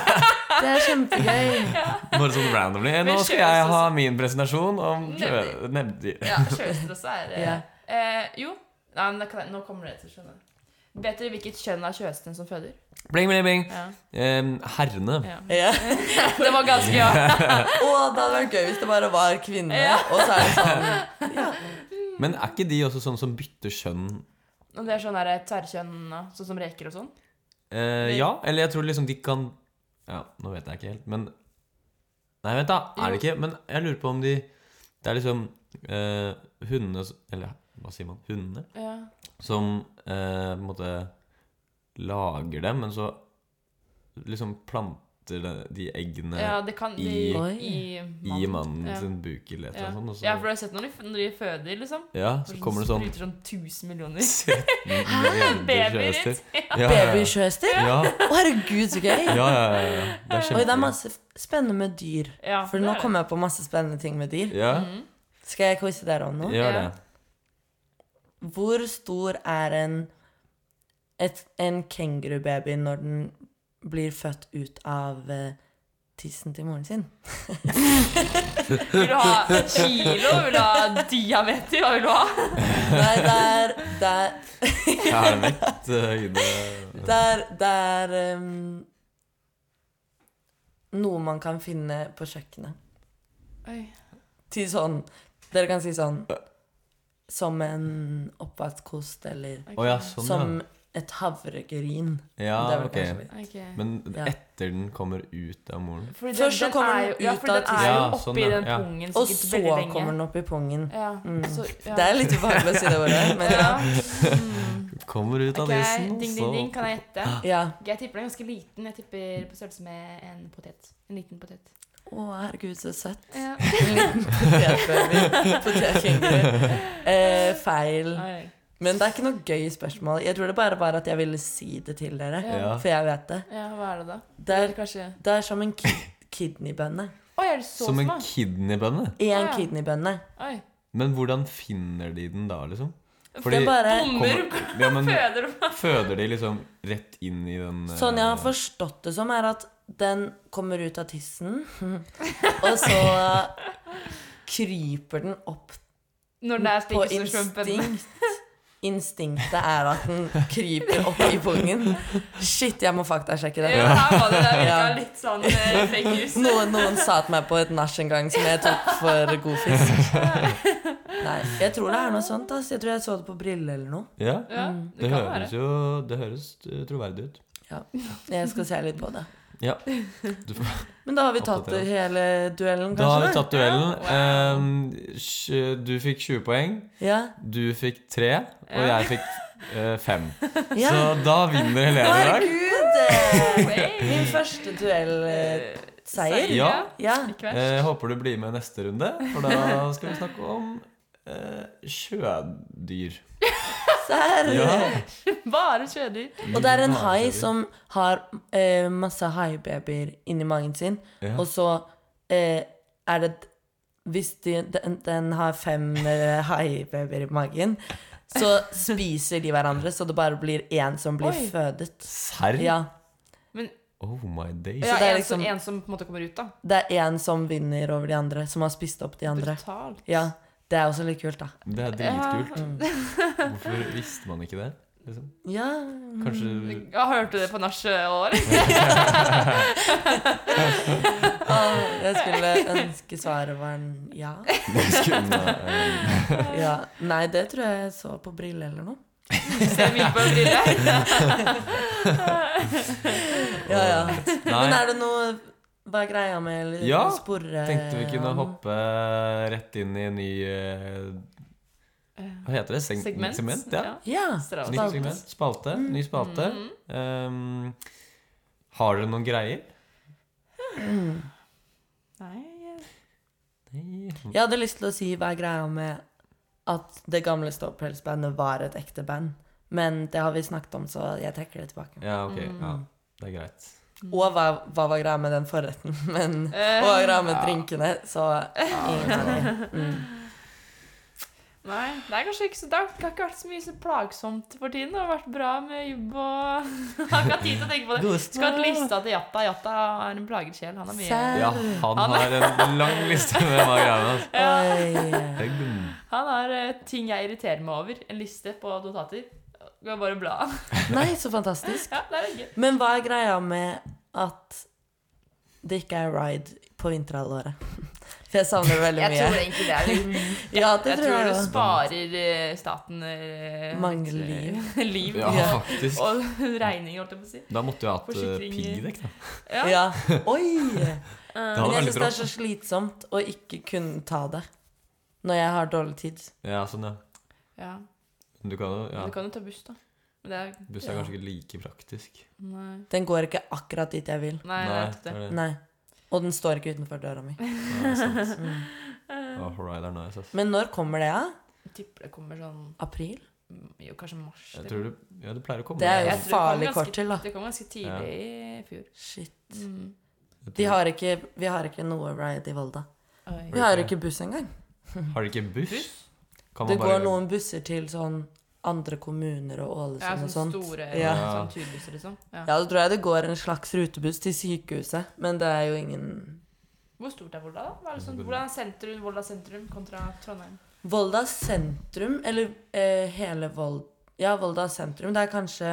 det er kjempegøy. Bare sånn randomly. Nå Men skal jeg sjøhest ha min presentasjon om Nebbdyr. sjø- nebbdyr. Ja, sjøhester også er eh, Ja. eh, Jo. Nei, men da kan jeg, nå kommer det til å skjønne. Vet dere hvilket kjønn av sjøhesten som føder? Bling, bling, bling. Ja. Em, Ehm, herrene. Ja. Ja. Det var ganske ja. Å, det hadde vært gøy hvis det bare var kvinne, og så er det sånn Men er ikke de også sånn som bytter kjønn? Og det er sånn der, eh, tverrkjønn, da, sånn som reker og sånn. Eh, ja, eller jeg tror liksom de kan Ja, nå vet jeg ikke helt, men Nei, vent, da. Er det ikke Men jeg lurer på om de Det er liksom eh, hundene s- Eller hva sier man? Hundene Ja. som eh, på en måte lager dem, men så liksom planter de- de eggene ja, det kan de Eh, I- Oi. I, i mannen Ja. sin buk eller et eller Ja. annet sånt. og så- ja, for du har sett når de, f- når de føder, liksom. Ja, så kommer det sånn Spruter sånn 1000 millioner. Babyer Babyer ut. Ja, babysjøster. ja, Å, herregud, så gøy. ja, ja, ja. Det er Oi, det er kjempegøy. masse f- spennende med dyr. Ja, For det nå er det. kommer jeg på masse spennende ting med dyr. Ja, Skal jeg quize dere om noe? gjør det. Ja. Hvor stor er en, et, en kengurubaby når den blir født ut av eh, tissen til moren sin? Vil du ha kilo? Vil du ha diameter? Hva vil du ha? Nei, det er Det er, Jeg har mitt høyde det er, det er ehm, noe man kan finne på kjøkkenet. Oi. Til sånn Dere kan si sånn Som en oppvaskkost eller Å ja, sånn, Som et havregryn. Det ja. ja er vel ok. kanskje litt- Men Ja. etter den kommer ut av moren Fordi Først så kommer den er jo- ja, ut for av den er jo tissen. Ja, oppi sånn, ja. den Ja. pungen Og sikkert så veldig lenge. kommer den opp i pungen. Ja, så, ja. Det er litt ubehagelig å si det ordet, men ja. ja. Mm. Kommer ut av Ok, tissen, og ding, så ding, ding, kan jeg gjette? ja. Ok, Jeg tipper den er ganske liten. Jeg tipper på størrelse med en potet. En liten potet. Å, herregud, så søtt. Ja. En liten potetbaby. Potetkenguru. Eh, feil. Oi. Men det er ikke noe gøy spørsmål. Jeg tror det bare var at jeg ville si det til dere. Ja. For jeg vet det. ja, hva er det da? Det er, Kanskje det er som en ki kidneybønne. Oi, er det så Som en små? kidneybønne. Én Ja. kidneybønne. Oi. Men hvordan finner de den da, liksom? Den bare Bommer ja, men, føder og Føder de liksom rett inn i den eh, Sånn jeg har sånn forstått det som, er at Den kommer ut av tissen, og så kryper den opp Når det er på stikkestorstrømpen. instinkt. Instinktet er at den kryper opp i pungen. Shit, jeg må faktasjekke det. Ja, her var det der virka Ja. Mm. litt sånn eh, fake news. Noen, noen sa til meg på et nach en gang som jeg tok for god fisk. Nei, jeg tror det er noe sånt. ass. Jeg tror jeg så det på brille eller noe. Ja. Ja, Mm. det, Det kan høres være. jo det høres eh, troverdig ut. Jeg skal se litt på det. Ja. Du, får- Men da har vi tatt Oppdatere. hele duellen, da har vi kanskje? tatt duellen. Ehm, tj- du fikk 20 poeng, Ja. du fikk 3, og Ja. jeg fikk 5. ja. Så da vinner Helene i dag. Herregud! Hey. Min første Eh, duellseier. Ja. Ja. Ikke verst. Eh, Jeg håper du blir med neste runde, for da skal vi snakke om eh, sjødyr. Serr. Bare kjører. Og det er en hai som har eh, masse haibabyer inni magen sin, Ja. og så eh, er det Hvis de, den, den har fem eh, haibabyer i magen, så spiser de hverandre, så det bare blir én som blir Oi. fødet. Serr? Ja. Men Oh my days. ja, det er en, liksom- som, en som på en måte kommer ut, da. Det er én som vinner over de andre, som har spist opp de andre. Brutalt. Ja, Det er også litt kult, da. Det er dritkult. Hvorfor visste man ikke det? Liksom? Ja, Mm. Kanskje Ja, hørte du det på nachåret? og jeg skulle ønske svaret var en ja. eh, ja. Nei, det tror jeg jeg så på brille eller noe. Ser mye på brille. Ja, ja. Men Nei, er det noe Hva er greia med eller, eh, Ja, sporre tenkte vi kunne han? hoppe rett inn i en ny eh, Hva heter det? Seg Segment. Mm. segment? Ja. Ja. Straff. Nytt Spalte. segment. Spalte. Ny spalte. Um, har dere noen greier? Nei, jeg- Nei. Jeg hadde lyst til å si hva er greia med at det gamle Ståpelsbandet var et ekte band. Men det har vi snakket om, så jeg trekker det tilbake. Ja, ok. Ja, Mm. det er greit. Og hva, hva var greia med den forretten? Men Eh. og hva var greia med drinkene? Så ingen aning. Nei, det er kanskje ikke så Det har ikke vært så mye så plagsomt for tiden. Det har vært bra med jobb og Har ikke hatt tid til å tenke på det. Skulle hatt lista til Jatta. Jatta er en plaget sjel. Han er mye Serr. Ja, han har en lang liste med hva greiene er. Oi. Det er gl- Han har eh, ting jeg irriterer meg over. En liste på notater. Går bare og blar. Nei, så fantastisk. Ja, det er gøy. Men hva er greia med at det ikke er ride på vinterhalvåret? For jeg savner det veldig mye. egentlig det er Ja, det Jeg tror jeg det også. sparer eh, staten eh, Mange litt, eh, liv. Ja, Ja. faktisk. Og regning, holdt jeg på å si. Da måtte jeg hatt eh, Forsikringer. piggdekk, da. Ja. Ja. Oi! Det Men hadde jeg syns vært litt det er rått. så slitsomt å ikke kunne ta det når jeg har dårlig tid. Ja, sånn, ja. Ja. Men Du kan jo ja. Men Du kan jo ta buss, da. Men det er Buss er kanskje ikke like praktisk. Nei, Den går ikke akkurat dit jeg vil. Nei, det er ikke det. er det. Nei. Og den står ikke utenfor døra mi. Mm. Nei, sant. Åh, ride er nice, ass. Men når kommer det, da? Jeg tipper det kommer sånn April? mm, Jo, kanskje mars. Jeg eller- tror du, ja, det pleier å komme. Det er ja. jo Jeg tror det kom farlig ganske- kort til, da. Det kom ganske tidlig i fjor. Shit. Mm. Jeg tror- De har ikke, vi har ikke noe ride i Volda. Oi. Vi har ikke buss engang. Har de ikke buss? Buss? Kan Det man går bare- noen busser til sånn andre kommuner og Ja, Ålesund sånn og sånt. store Ja. Ja. sånn turbusser, liksom. Ja. Ja, så tror jeg det går en slags rutebuss til sykehuset, men det er jo ingen Hvor stort er Volda, da? Hva er det sånn, hvordan er sentrum, Volda sentrum kontra Trondheim? Volda sentrum, eller eh, hele Volda Ja, Volda sentrum. Det er kanskje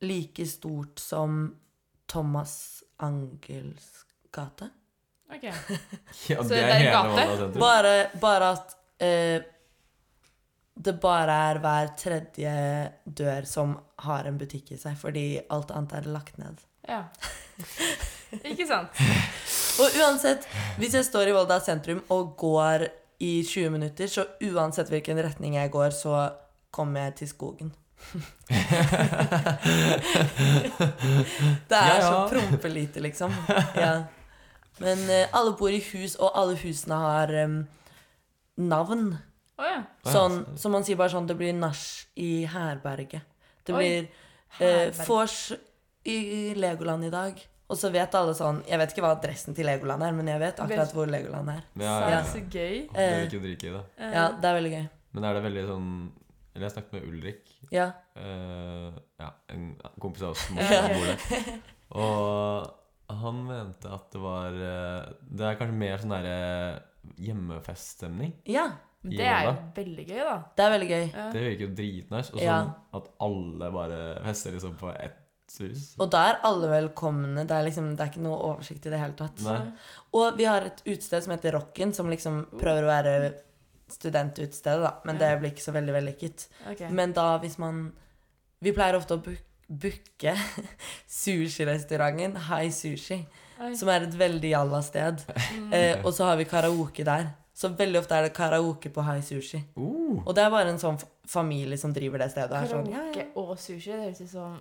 like stort som Thomas Angels gate. Ok. Ja, det Så det er er hele gate? Volda sentrum. Bare, bare at eh, det bare er hver tredje dør som har en butikk i seg, fordi alt annet er lagt ned. Ja. Ikke sant? Og uansett, hvis jeg står i Volda sentrum og går i 20 minutter, så uansett hvilken retning jeg går, så kommer jeg til skogen. det er Ja, ja. så prompelite, liksom. Ja. Men eh, alle bor i hus, og alle husene har em, navn. Å ja. Å ja, Sånn, som man sier bare sånn, det blir nach i herberget. Det Oi, blir eh, herberg. vors i Legoland i dag. Og så vet alle sånn Jeg vet ikke hva adressen til Legoland er, men jeg vet akkurat Vet- hvor Legoland er. Ja, Så, ja, så ja. gøy. Eh, Håper dere ikke drikker i det. Ja, det er veldig gøy. Men er det veldig sånn Eller jeg snakket med Ulrik, Ja. eh, ja, en kompis av oss som Ja, også ok. bor der. Og han mente at det var eh, Det er kanskje mer sånn derre hjemmefeststemning. Ja, Men Gi det er jo meg veldig gøy, da. det er veldig gøy. Ja. Det virker jo dritnice. Og sånn Ja. at alle bare fester liksom på ett hus. Og da er alle velkomne. Det er, liksom, det er ikke noe oversikt i det hele tatt. Nei. Og vi har et utested som heter Rocken, som liksom prøver å være studentutestedet, da. Men det blir ikke så veldig vellykket. Ok. Men da hvis man Vi pleier ofte å book- booke sushirestauranten High Sushi, Oi. som er et veldig jalla sted. Mm. Eh, og så har vi karaoke der. Så veldig ofte er det karaoke på High Sushi. Uh, Og det er bare en sånn f- familie som driver det stedet. Er sånn, ja, ja. Karaoke og sushi, det høres ut som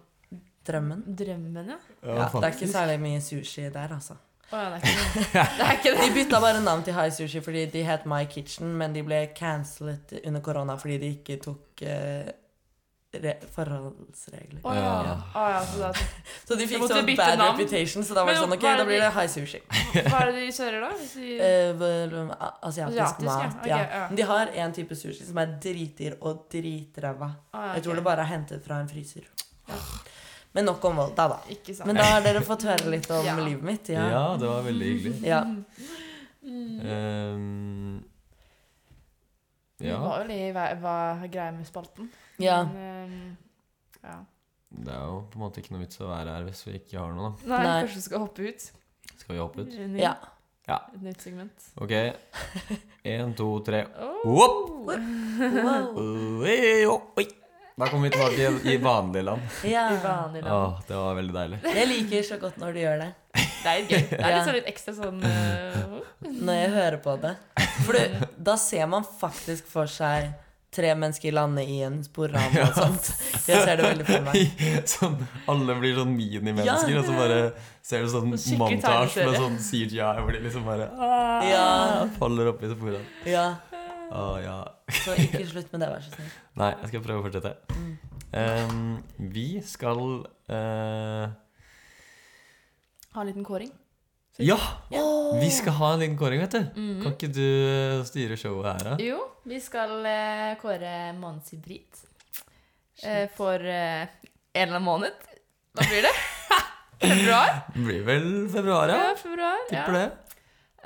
Drømmen. drømmen, ja. Ja, ja, det er ikke faktisk. særlig mye sushi der, altså. Å ja, det er ikke det. Det er ikke det. De bytta bare navn til High Sushi fordi de het My Kitchen, men de ble cancelet under korona fordi de ikke tok eh, re forholdsregler. Å ja. Å ja, så da Så de fikk måtte sånn bytte bad navn. reputation, så da var det Men sånn OK, hva er da blir det det- High Sushi. Hva er det de kjører, da? Hvis de, Eh, vel, a- asiatisk Asiatisk, ja. mat. Ok, Ja. ja. Men de har én type sushi som er dritdyr og dritræva. Å, Ah, ja, Jeg tror ok. det bare er hentet fra en fryser. Ja. Men nok om Volda, da. Ikke sant. Men da har dere fått høre litt om Ja. livet mitt. Ja. Ja. det var veldig Mm. hyggelig. ja. Ehm, Vi ja. var jo litt i hva, hva er greia med spalten. ja. Men, ehm, ja. Det er jo på en måte ikke noe vits å være her hvis vi ikke har noe, Nei, Nei. kanskje du skal hoppe ut. da. Skal vi hoppe ut? Ny, Ja. Ja. Et nytt segment. Ok. Én, to, tre. Oh. Whoop! Wow. Oi, oi. Da kommer vi tilbake igjen i vanlige land. ja. I vanlig Å, land. det var veldig deilig. Jeg liker så godt når du gjør det. Det er litt gøy. Det er Ja. litt, sånn litt ekstra sånn eh, Når jeg hører på det. For du, da ser man faktisk for seg tre mennesker lande i en sporran og sånt. Jeg ser det veldig for meg. Sånn, alle blir sånn minimennesker, Ja. og så bare ser du sånn Skikkelig montasje med tegneserie. sånn CGI hvor de liksom bare Ja, faller oppi sporene. ja. Å ja. Så ikke slutt med det, vær så snill. Nei, jeg skal prøve å fortsette. Ehm, vi skal eh, Ha en liten kåring. Ja! Ja. Vi skal ha en liten kåring, vet du. Mm. Kan ikke du eh, styre showet her, da? Jo, vi skal eh, kåre månedens hybrid eh, for eh, en eller annen måned. Hva blir det? februar? Det blir vel februar, ja? Ja, februar. Tipper ja. det.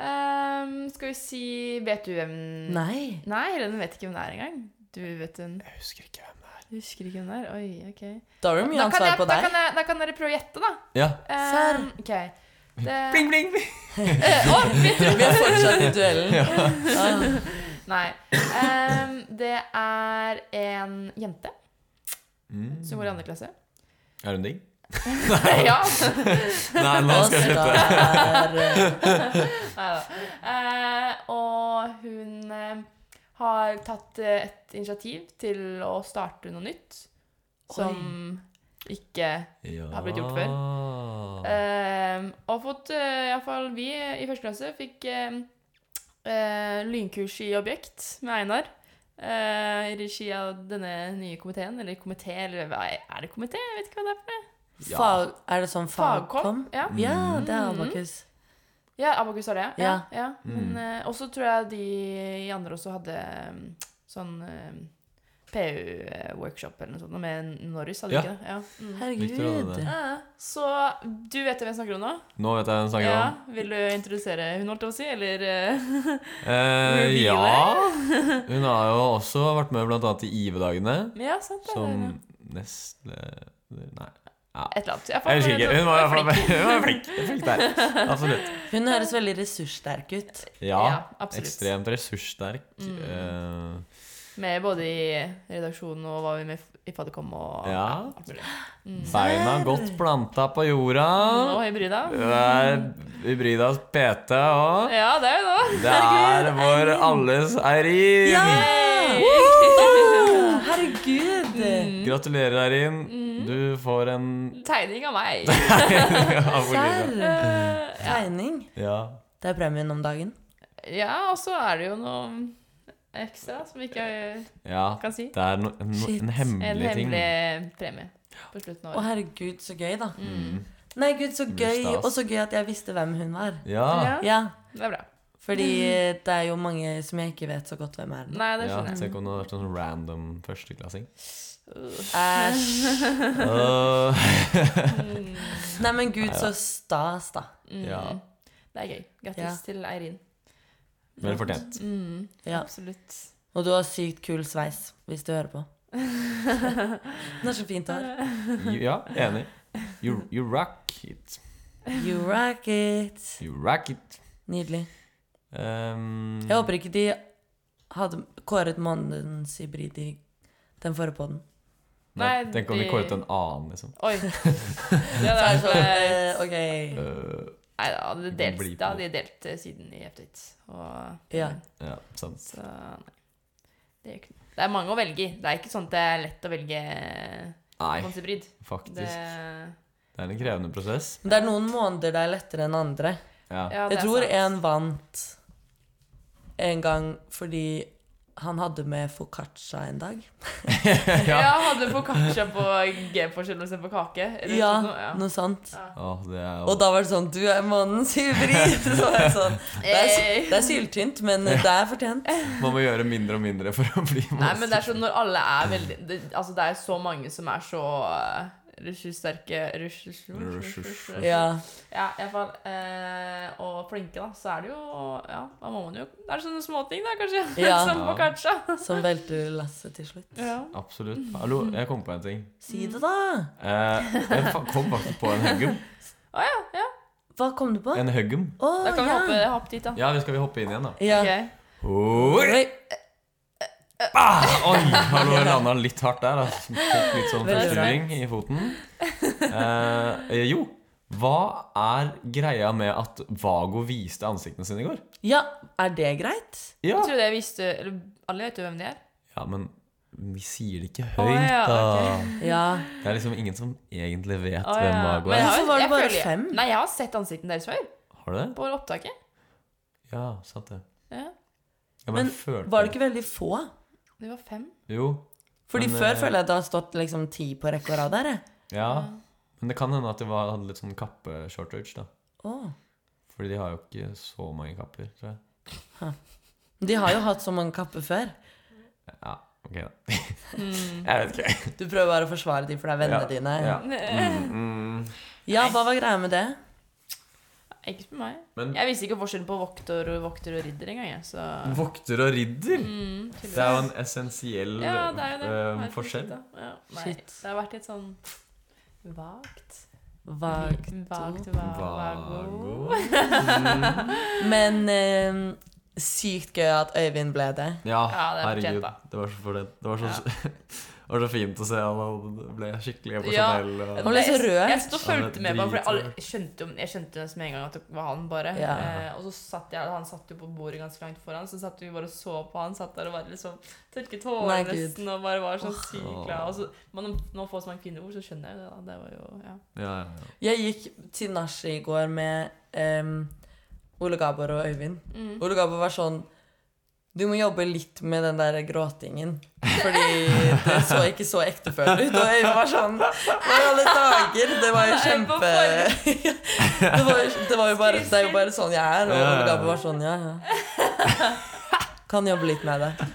Ehm, skal vi si Vet du hvem Nei. Nei, Helene vet ikke hvem det er engang. Du vet hun. Jeg husker ikke hvem det er. Du husker ikke hvem det er? Oi, ok. Da var det mye Da kan, ansvar jeg, på da, deg. kan jeg, da kan dere prøve å gjette, da. Ja. Ehm, ok. Det, Bling, bling, bling. Eh, å, vi- Vi er fortsatt i duellen. Ah. nei. Ehm, det er en jente som går i andre klasse. Er hun digg? ja. Nei, nå skal jeg slutte. slutte. Neida. Eh, og hun eh, har tatt eh, et initiativ til å starte noe nytt som ikke Ja. Har blitt gjort før. eh, Og fått eh, Iallfall vi i første klasse fikk eh, eh, lynkurs i objekt med Einar. eh, I regi av denne nye komiteen, eller komité, eller hva er er det komité? Jeg vet ikke hva det er. for noe. Ja. Mm. Fag, er det sånn fagkom? Fagkom. Ja. Ja, det er Abakus. Ja, Abakus har det, ja. Ja. ja. ja. Men Mm. eh, også tror jeg de i andre også hadde mm, sånn PU-workshop eller noe sånt, noe med Norris, hadde de Ja. ikke det? Ja. Mm. Victor hadde Herregud. det. Ja, ja. Så du vet hvem jeg snakker om nå? Nå vet jeg hvem sangen Ja, om. Vil du introdusere hun, holdt jeg på å si? Eller eh, Eh, Revealer. ja. Hun har jo også vært med blant annet i IV-dagene. Ja, sant det. Som det er det. nestleder Nei, Et eller annet. Jeg, jeg husker ikke. Hun var i hvert fall flink. hun var flink. flink der. Absolutt. Hun høres veldig ressurssterk ut. Ja. Ja, absolutt. Mm. ekstremt ressurssterk. eh, Med både i redaksjonen og var vi med i Fadderkom og Ja. alt mulig. beina godt planta på jorda. Og hybrida. Hun er hybridas PT òg. Ja, det er jo det. Det er vår alles Eirin. Woo! Herregud! Gratulerer, Eirin. Du får en Tegning av meg. av Olivia. Serr! Eh, Tegning. Ja. Det er premien om dagen. Ja, og så er det jo noe ekstra som vi ikke Ja, kan si. det er no, en, no, Shit. en En hemmelig ting. hemmelig premie på slutten Å, av året. Mm. herregud, så gøy, da. Mm. Nei, gud, så gøy. stas. Og så gøy at jeg visste hvem hun var. Ja, Ja. Ja, Det er bra. fordi det er jo mange som jeg ikke vet så godt hvem er. Nei, det ja skjønner jeg. Tenk om det hadde vært en random sånn førsteklassing. Æsj. Åh, Nei, men gud, så stas, da. Mm. ja. Det er gøy. Grattis Ja. til Eirin. Vel fortjent. Mm, Ja. Absolutt. Og du har sykt kul sveis, hvis du hører på. Den er så fint hår. Ja, enig. You, you rock it. You rock it. You rock it. Nydelig. Ehm, Jeg håper ikke de hadde kåret månedens hybrid i den forrige poden. nei, Nei, Tenk om vi de- kåret en annen, liksom. Oi. Det der, Så, eh, OK. Øh, Nei, da hadde de Det delt, blir på da hadde de delt eh, siden i Eftit. Og Ja. ja, sant. Så nei. Det er, ikke noe. det er mange å velge i. Det er ikke sånn at det er lett å velge Nei, Monsebrid. faktisk. Det, Det er en krevende prosess. Men det er noen måneder det er lettere enn andre. Ja. ja, Jeg det er tror sant. en vant en gang fordi han hadde med foccaccia en dag. Ja, hadde foccaccia på G-forskjell istedenfor kake. Eller Ja, sånn noe, noe sånt. Åh, det er Og da var det sånn Du er månedens hybrid! Så var jeg sånn, Eh, det er, Hey. det er syltynt, men det er fortjent. Man må gjøre mindre og mindre for å bli Nei, men det er sånn når alle er veldig det, Altså, det er så mange som er så uh, ressurssterke ressurs- Ressurssterke. Ja. Ja, i hvert fall. eh, og flinke, da. Så er det jo Ja, da må man jo Det er sånne småting, da, kanskje. Ja. som Ja. foccaccia. Som velter lasset til slutt. Ja. Absolutt. Hallo, jeg kom på en ting. Si det, da! Eh, jeg fa- kom faktisk på en huggum. Å ja, ja. Hva kom du på? Å, En huggum? Da kan vi ja. hoppe, hoppe dit, da. Ja, vi skal vi hoppe inn igjen, da? Ja. Ok. Oi, Oi. ah, oi hallo, jeg landa litt hardt der. Altså. Tok litt sånn Veldig forsturing i foten. Eh, jo, hva er greia med at Vago viste ansiktene sine i går? Ja, er det greit? Ja, Jeg trodde jeg visste eller, Alle vet jo hvem de er. ja men vi sier det ikke Å, ja, høyt, da. Ja. Det er liksom ingen som egentlig vet Å, hvem ja. Vago Men jeg er. har- Hvorfor var det jeg bare føler- fem? Nei, jeg har sett ansiktene deres før. Har du det? På opptaket. Ja, sant det. Ja, Jeg bare Men følte var det ikke veldig få? det var fem. Jo. Fordi Men, før eh, føler jeg det har stått liksom ti på rekke og rad der. jeg. Ja. Men det kan hende at det var, hadde litt sånn kappe-shortage, da. Å. Fordi de har jo ikke så mange kapper, tror jeg. De har jo hatt så mange kapper før. Ja, ok da. Mm. jeg vet ikke. Du prøver bare å forsvare dem, for det er vennene Ja, dine. Ja. Nei, Mm. Ja, hva var greia med det? Ikke spør meg. Men Jeg visste ikke forskjellen på vokter og vokter og ridder engang. jeg, Så vokter og ridder, mm, det er jo en essensiell ja, det er jo det. eh, Hva er det for forskjell. sitt da? Ja, nei, Shit. Det har vært litt sånn vagt. Vagt. Vagt, va- vago. Vago. Mm. Men eh, sykt gøy at Øyvind ble det. Ja, Ja, det er fortjent, herregud. da. Det var så fortjent. Det var så, det var så fint å se han ble skikkelig Ja. emosjonell. og- Han ble så rørt. Jeg stod og Han ble fulgte med, bare, for jeg, dritrørt. alle, skjønte jo, jeg skjønte jo nesten med en gang at det var han, bare. Ja. Eh, og så satt jeg, han satt jo på bordet ganske langt foran, så satt vi bare og så på han, satt der og bare liksom tørket Nei, håret Gud. nesten, og bare var så Åh. sykt glad. Og så, man, når man får så mange kvinneord, så skjønner jeg jo det, da. Det var jo, ja. Ja, ja, ja. Jeg gikk til nachspiel i går med em, Ole Gabor og Øyvind. Ole Gabor var sånn Du må jobbe litt med den der gråtingen. Fordi det så ikke så ektefølt ut. Og Øyvind var sånn Hva i alle dager? Det var jo Nei, på kjempe det, var, jo- det, var jo bare, det er jo bare sånn jeg er. Og Ole Gabor var sånn Ja, ja. Kan jobbe litt med det.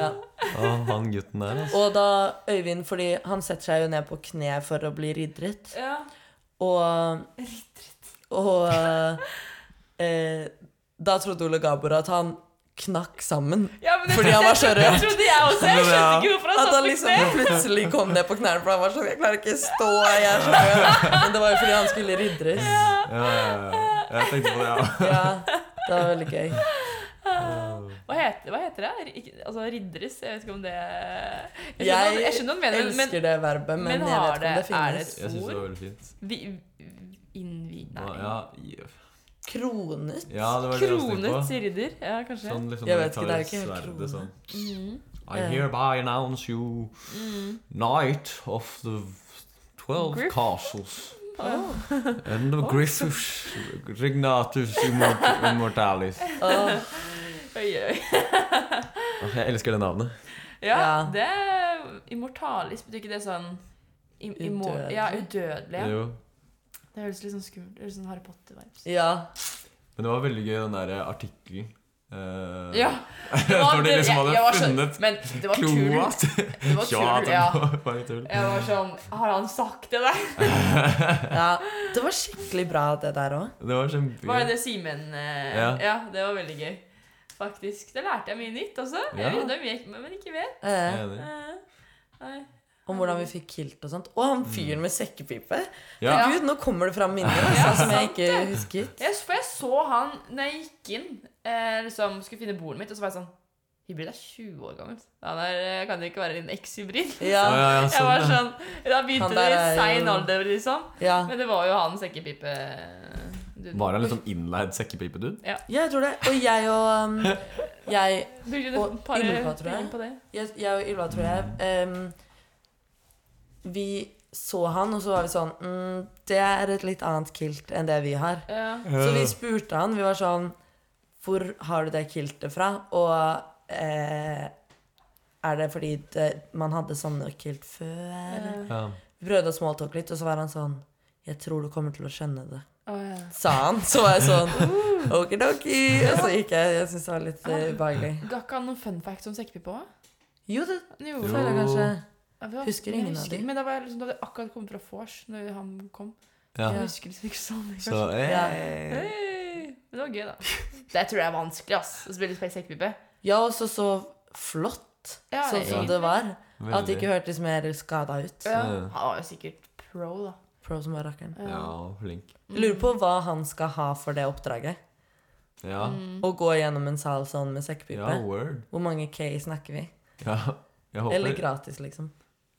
Ja. Å, han gutten der, altså. Og da Øyvind, fordi han setter seg jo ned på kne for å bli riddret. ja. Og Og eh, da trodde Ole Gabor at han knakk sammen. Ja, men det Fordi han var så rørt. Det trodde jeg også. Jeg skjønte Ja. ikke hvorfor han At satt han på liksom plutselig kom ned på knærne, for han var sånn Jeg klarer ikke stå, jeg er så rød. Men det var jo fordi han skulle ridres. Ja, ja, ja. Jeg tenkte på det, ja. Ja, det var veldig gøy. Hva heter, hva heter det? Ikke, altså ridderes? Jeg vet ikke om det Jeg skjønner, Jeg hva- jeg skjønner hva du mener, men, Elsker det verbet, men, men jeg har vet ikke om det det- er det finnes. Jeg syns det var veldig fint. vi, innvi... Nei. Ja, ja. Kronet? ja, det var det jeg tenkte på. Kronet ridder? Ja, kanskje. Sånn, liksom, Jeg når vet de ikke, tar det er ikke helt sverdet krone. sånn. Mhm. I Ja. hereby announce you Mm. Knight of the Twelve Griff. Castles Åh. and the Griffus Regnatus immort- Immortalis. Åh, Oi, oi. Åh, Jeg elsker det navnet. Ja, Ja. det er Immortalis, betyr ikke det sånn i- immo- Udødelig. Ja, udødelig. Ja. Jo. Det høres litt sånn skummelt ut. Sånn Harry Potter-vibes. ja. Men det var veldig gøy, den der artikkelen Eh, Ja. Det Når de liksom hadde var sånn- funnet Men det var tull. kloa til- Det var tull, Ja, det ja. var bare tull. Jeg var sånn Har han sagt det der? Ja, det var skikkelig bra, det der òg. Det var kjempegøy. Var det det Simen eh, ja. Ja. det var veldig gøy. Faktisk. Da lærte jeg mye nytt også. Ja. Jeg rydda mye jeg ikke- men ikke vet. Eh, Enig. Eh, nei. om hvordan vi fikk kilt og sånt. Og han fyren med sekkepipe. Ja. Gud, nå kommer det fram minner altså, som jeg ikke husket. Jeg, for jeg så han når jeg gikk inn, eh, liksom skulle finne bordet mitt, og så var jeg sånn Hybrid er 20 år gammel. Han er, eh, kan jo ikke være din eks-hybrid. Ja, Å, ja, ja, Jeg var sånn, ja. sånn, Da begynte Han det der i er jo- sein alder, liksom. ja. Men det var jo han sekkepipe... eh, Du Var han liksom innleid sekkepipedude? Ja, jeg tror det. Og jeg og um, jeg, brukte og et par Ylva, tror jeg. timer på det. jeg, jeg og Ylva, tror jeg um, Vi så han, og så var vi sånn mm, Det er et litt annet kilt enn det vi har. Ja. Så vi spurte han. Vi var sånn Hvor har du det kiltet fra? Og eh, er det fordi det, man hadde sånne kilt før? Eh, Ja. Vi prøvde å smalltalke litt, og så var han sånn Jeg tror du kommer til å skjønne det. å, ja. Sa han. Så var jeg sånn okidoki. Og så gikk jeg. Jeg syntes det var litt eh, ubehagelig. Ga ikke han noen fun facts om sekkepipe òg? Jo, det Jo. Jo. føler jeg kanskje. Ja, vi var- Husker jeg ingen av husker- de. Men da var jeg liksom, da hadde jeg akkurat kommet fra vors når han kom. Ja. Jeg husker liksom ikke så mye. Så eh, Ja. Hey! Men det var gøy, da. Det tror jeg er vanskelig, ass. Å spille spe- sekkepipe. Ja, også så flott Ja, sånn som egentlig. det var. At det veldig. ikke hørtes mer skada ut. Ja. Ja. Han var jo sikkert pro, da. Pro som bare rakkeren. Mm. Ja, flink. Jeg Lurer på hva han skal ha for det oppdraget. Ja. Mm. Å gå gjennom en sal sånn med ja, sekkepipe. word. Hvor mange K snakker vi? Ja, jeg håper Eller gratis, liksom.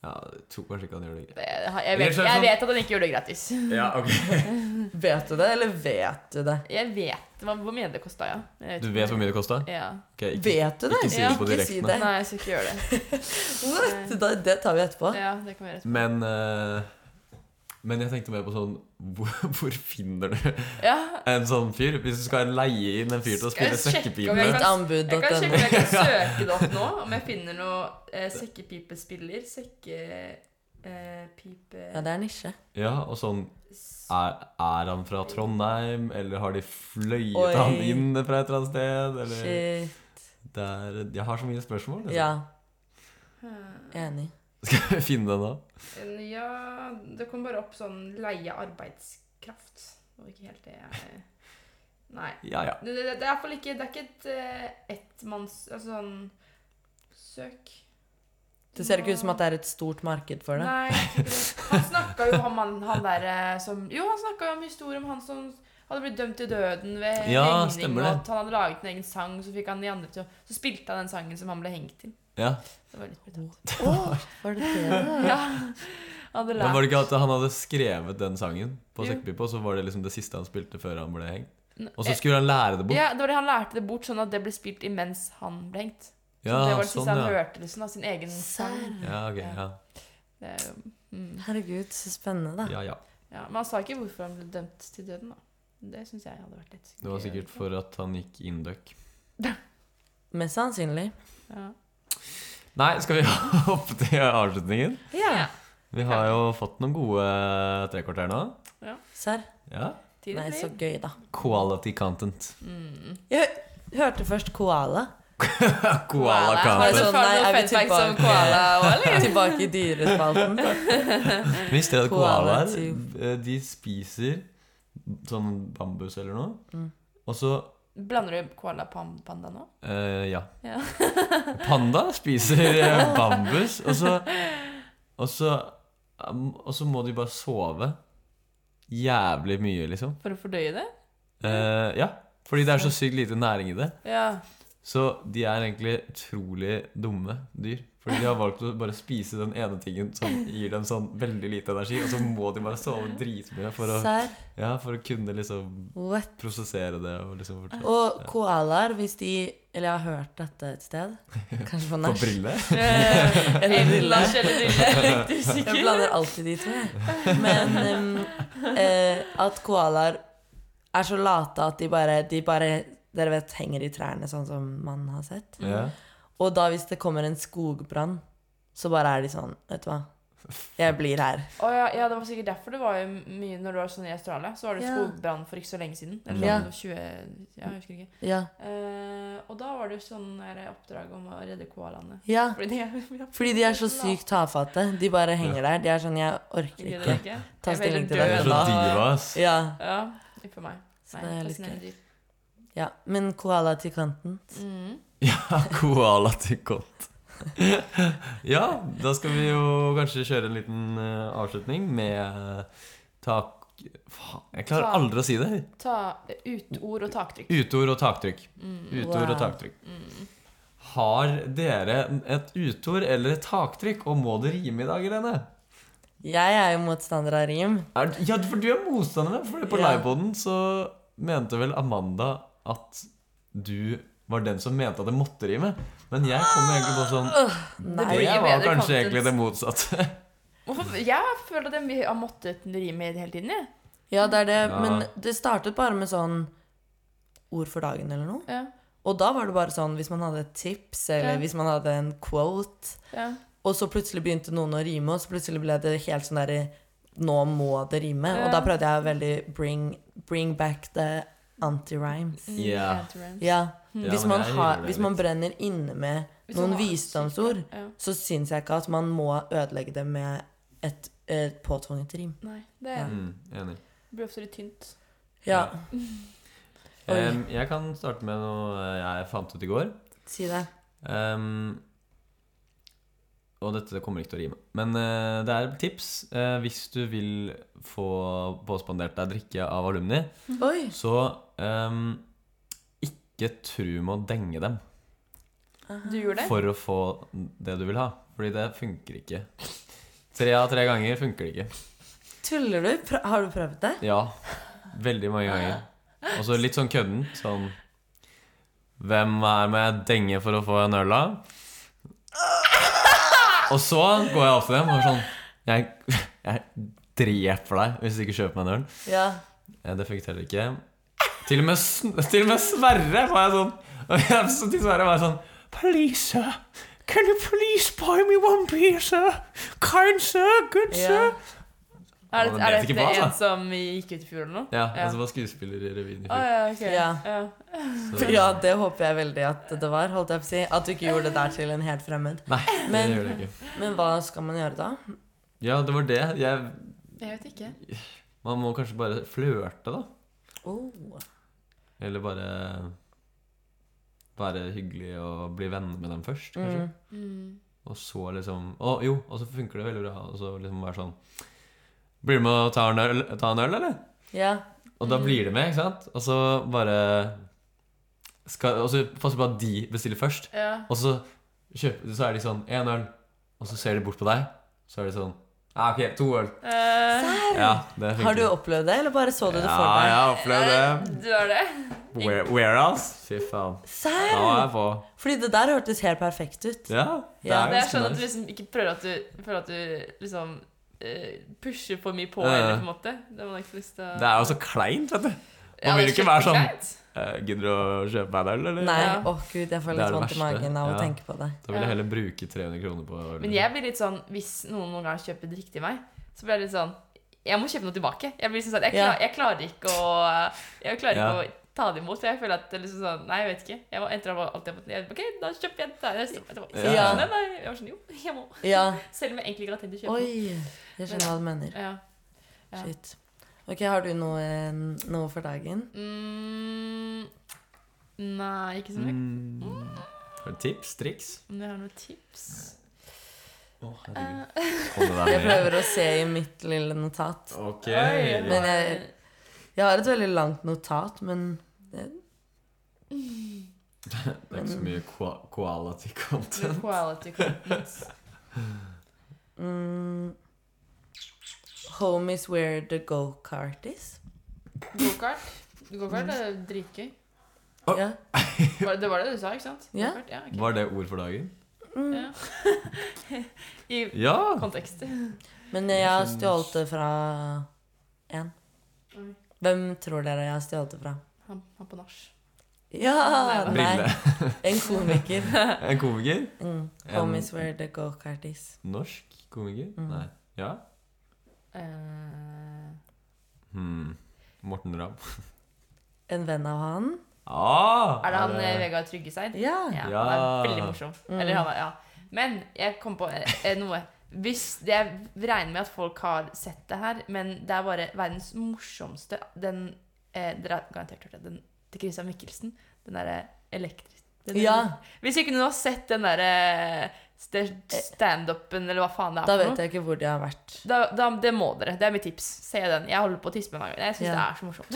Ja, jeg tror kanskje ikke han gjør det. Det- Jeg Eller vet, så er det jeg sånn- vet at han ikke gjorde det gratis. Ja, ok. Vet du det, eller vet du det? Jeg vet Hva, hva mener du det kosta, ja? Jeg Du vet hvor mye det kosta? Ja. Okay, ikke- Vet du det? ikke si det på direkten, da. Nei, jeg skal ikke gjøre det. What? Da- Det tar vi etterpå. Ja, det kan vi gjøre etterpå. Men eh, Men jeg tenkte mer på sånn Hvor, hvor finner du Ja, en sånn fyr? Hvis du skal leie inn en fyr til å Skal jeg spille sjekke om jeg sekkepipe kan- jeg kan Mittanbud.no. sjekke om jeg kan søke det opp nå, om jeg finner noe eh, sekkepipespiller. Sekke... Eh, pipe... Ja, det er nisje. Ja, og sånn er, er han fra Trondheim, eller har de fløyet Oi. han inn fra et eller annet sted? Eller? Shit. Det er, jeg har så mye spørsmål. Liksom. Ja, Eh, enig. Skal jeg finne den da? Ja, det kom bare opp sånn leie arbeidskraft. Det var ikke helt det jeg Nei. Ja, ja. Det, det, det er i hvert fall ikke Det er ikke et eh, ettmanns... Altså sånn Søk. Det ser ikke ut som at det er et stort marked for det. Nei. jeg tror ikke det. Han snakka jo om han, han derre som Jo, han snakka jo om historien om han som hadde blitt dømt til døden ved Ja, hengning. stemmer Og det. at han hadde laget en egen sang, så fikk han de andre til å Så spilte han den sangen som han ble hengt til. ja. Det var litt brutalt. Åh, var det det det var? Ja. Han hadde Men lært var det ikke at han hadde skrevet den sangen på Jo. sekkepipe, og så var det liksom det siste han spilte før han ble hengt? N- Og så skulle han lære det bort? Eh, Ja, det var det han lærte det bort, sånn at det ble spilt imens han ble hengt. Så Ja, det var det siste sånn, han ja. hørte liksom, av sin egen sang. Serr. Ja, ok, ja. Det er jo, mm. Herregud, så spennende, da. ja, ja. ja, men han sa ikke hvorfor han ble dømt til døden, da. Det syns jeg hadde vært litt Det var sikkert for at han gikk induck. Mest sannsynlig. ja. Nei, skal vi hoppe til avslutningen? Ja. Vi har jo fått noen gode trekvarter nå. Serr? Ja. Tiden Nei, så flyr. gøy, da. Quality content. Mm. Jeg hø- hørte først koala. Koala Har du Sånn, content. så far nei, noe er vi fun fact tilbake? som koala også, eller? Tilbake i dyrespalten. Visste dere at koalaer Koala-typ. eh, de spiser sånn bambus eller noe? Mm. Og så Blander du koala pan- panda nå? eh, Ja. Ja. Panda spiser eh, bambus, og så Og så um, Og så må de bare sove jævlig mye, liksom. For å fordøye det? Eh, ja, fordi det er så sykt lite næring i det. Ja. Så de er egentlig utrolig dumme dyr. Fordi de har valgt å bare spise den ene tingen som gir dem sånn veldig lite energi, og så må de bare sove dritmye for å, Serr? ja, for å kunne liksom What? prosessere det og liksom fortelle. Og koalaer, hvis de Eller jeg har hørt dette et sted. Kanskje på På nach. brille? Eh, Eller Eller brille. Lars eller Dille, jeg er litt Jeg usikker. blander alltid de to, jeg. Men um, eh, at koalaer er så late at de bare, de bare Dere vet, henger i trærne, sånn som man har sett. Ja. Og da hvis det kommer en skogbrann, så bare er de sånn Vet du hva, Jeg blir her. Å ja, ja, det var sikkert derfor det var jo mye når du var sånn i Australia. Så var det Ja. skogbrann for ikke så lenge siden. Eller Ja. sånn 20... Ja, jeg husker ikke. Ja. Eh, og da var det jo sånn der oppdrag om å redde koalaene. ja. Fordi de er Fordi de er så sykt tafatte. De bare henger der. De er sånn Jeg orker Gidder ikke. jeg ikke. Ta Jeg vil stilling til dø De er det. så da. dyre, ass. Ja. Ja, ikke for meg. Så Nei, det er litt fascinerende gøy. dyr. ja. Men koala til kanten. Mm. Ja, koala til kont. ja, da skal vi jo kanskje kjøre en liten eh, avslutning med eh, tak... Faen, jeg klarer aldri å si det. Ta utord og taktrykk. Utord og taktrykk. Utord Mm, Wow. Mm. og taktrykk. Har dere et utord eller et taktrykk, og må det rime i dag, Irene? Jeg er jo motstander av rim. Er, ja, for du er motstander, for på Ja. livepodden så mente vel Amanda at du var den som mente at det måtte rime. Men jeg kom egentlig på sånn Nei. blir- Jeg Mye var bedre kanskje content. egentlig det motsatte. Hvorfor? Jeg føler at jeg har måttet rime hele tiden. jeg. Ja, det er det. Ja. Men det startet bare med sånn ord for dagen eller noe. Ja. Og da var det bare sånn hvis man hadde et tips, eller Ja. hvis man hadde en quote, Ja. og så plutselig begynte noen å rime, og så plutselig ble det helt sånn derre Nå må det rime. Og da Ja. prøvde jeg å veldig bring, bring back the anti-rhymes. Mm, Ja. antirhymes. Ja. Ja, Hvis men man, jeg har, gjør det hvis man litt. brenner inne med Hvis man noen har- visdomsord, Ja. så syns jeg ikke at man må ødelegge det med et, et påtvunget rim. Nei, det er, Mm, enig. blir ofte litt tynt. Ja, Oi. Em, jeg kan starte med noe jeg fant ut i går. si det. Em, og dette kommer ikke til å rime. Men eh, det er et tips. Eh, hvis du vil få påspandert deg drikke av alumni, Oi! så em, ikke tru med å denge dem Du gjorde det? for å få det du vil ha. Fordi det funker ikke. Tre av tre ganger funker det ikke. Tuller du? Pr- Har du prøvd det? Ja, veldig mange ganger. Og så litt sånn kødden. Sånn Hvem er med denge for å få en øl, da? Og så går jeg opp til dem og er sånn jeg, jeg dreper deg hvis du ikke kjøper meg en øl. Ja. Eh, Det fikk jeg heller ikke. Til og med, Sn- til og med Sverre var jeg sånn og jeg, så Til Sverre var jeg sånn Please, sir. Can you please buy me one beer, sir? Kind, sir. Good, Ja. sir. Er det, Ja, men er vet det ikke hva, en da. som gikk ut i fjor eller noe? Ja, og så var skuespiller i revyen i Å, fjor. ja, ok. Ja. Ja. så- ja, det håper jeg veldig at det var. holdt jeg på å si At du ikke gjorde det der til en helt fremmed. Nei, Men- det gjør det ikke. Men hva skal man gjøre da? Ja, det var det. Jeg, Jeg vet ikke. man må kanskje bare flørte, da. Oh. Eller bare være hyggelig og bli venner med dem først, kanskje. Mm. Mm. Og så liksom Å jo, og så funker det veldig bra. Og så liksom være sånn Blir du med og tar en øl, ta en øl eller? Ja. Og Mm. da blir de med, ikke sant? Og så bare skal, Og så passer på at de bestiller først. Ja. Og så, kjøper, så er de sånn Én øl. Og så ser de bort på deg. Så er de sånn Ja, OK, to øl. Eh, Ja, det funker. Har du opplevd det, eller bare så du det for Ja, deg? jeg har opplevd det. du er det? Where, whereas? Fy faen. Nå er Serr? jeg på. Fordi det der hørtes helt perfekt ut. Ja, Ja, jo Det er ganske sånn at du nice. liksom ikke prøver at du, føler at du liksom eh, pusher for mye på, Ja, ja. eller på en måte. Det har man ikke lyst til å Det er jo så kleint, vet du. Ja, man vil det er ikke være sånn- kjempekleint. Eh, Gidder du å kjøpe meg en øl, eller? Nei, Ja. å gud, jeg får Det litt er det vondt i verste. magen av å Ja. tenke på det. Da vil jeg heller bruke 300 kroner på øl. Men jeg blir litt sånn, hvis noen noen gang kjøper drikke til meg, så blir jeg litt sånn Jeg må kjøpe noe tilbake. Jeg, blir liksom sånn, jeg, Ja. klar, jeg klarer ikke å Jeg klarer Ja. ikke å ta det imot. For jeg føler at det er liksom sånn Nei, jeg vet ikke. Jeg må endre på alt jeg må jeg- OK, da kjøper jeg det. Jeg, jeg, jeg, jeg, Ja. nei, nei, jeg var sånn Jo, jeg må. Ja. Selv om jeg egentlig ikke har tenkt å kjøpe. Oi. Jeg skjønner hva du mener. Ja. Ja. Shit. Ok, har du noe, eh, noe for dagen? Mm, nei, ikke så mye. Mm. Har du tips? Triks? Om jeg har noen tips Å, herregud. Eh, Kom det Jeg der ned. prøver å se i mitt lille notat. Ok. oi, Men jeg- Jeg har et veldig langt notat, men det, Det er ikke så mye qua- quality content. Med quality content. mm, Home is where the go-kart is. Gokart. Gokart er dritgøy. Å. Ja. Var- Det var det du sa, ikke sant? Ja. Gokart, ja, ok. Var det ord for dagen? Mm. Ja. I Ja! kontekst. Men jeg har stjålet det fra én. Oi. Hvem tror dere jeg har stjålet det fra? Han, han på nach. Ja! Nei. Brille. En komiker. En komiker? Mm. En- Home is where the go-kart is. Norsk komiker? Mm. Nei. Ja? Eh, Hmm. Morten Ramm. En venn av han. Ah, er det han eh, Vegard Tryggeseid? Ja. Ja, Ja. han er veldig morsom. Mm. Eller han er, ja. Men jeg kom på eh, eh, noe. Hvis det, Jeg regner med at folk har sett det her, men det er bare verdens morsomste Den eh, Dere har garantert hørt det. Den til Christian Michelsen. Den derre elektris... den- ja. Hvis ikke noen har sett den derre eh, standupen, eller hva faen det er Da for noe. vet jeg ikke hvor de har vært. Da, da, det må dere. Det er mitt tips. Se den. Jeg holder på å tispe en gang. Jeg Ja. syns det er så morsomt.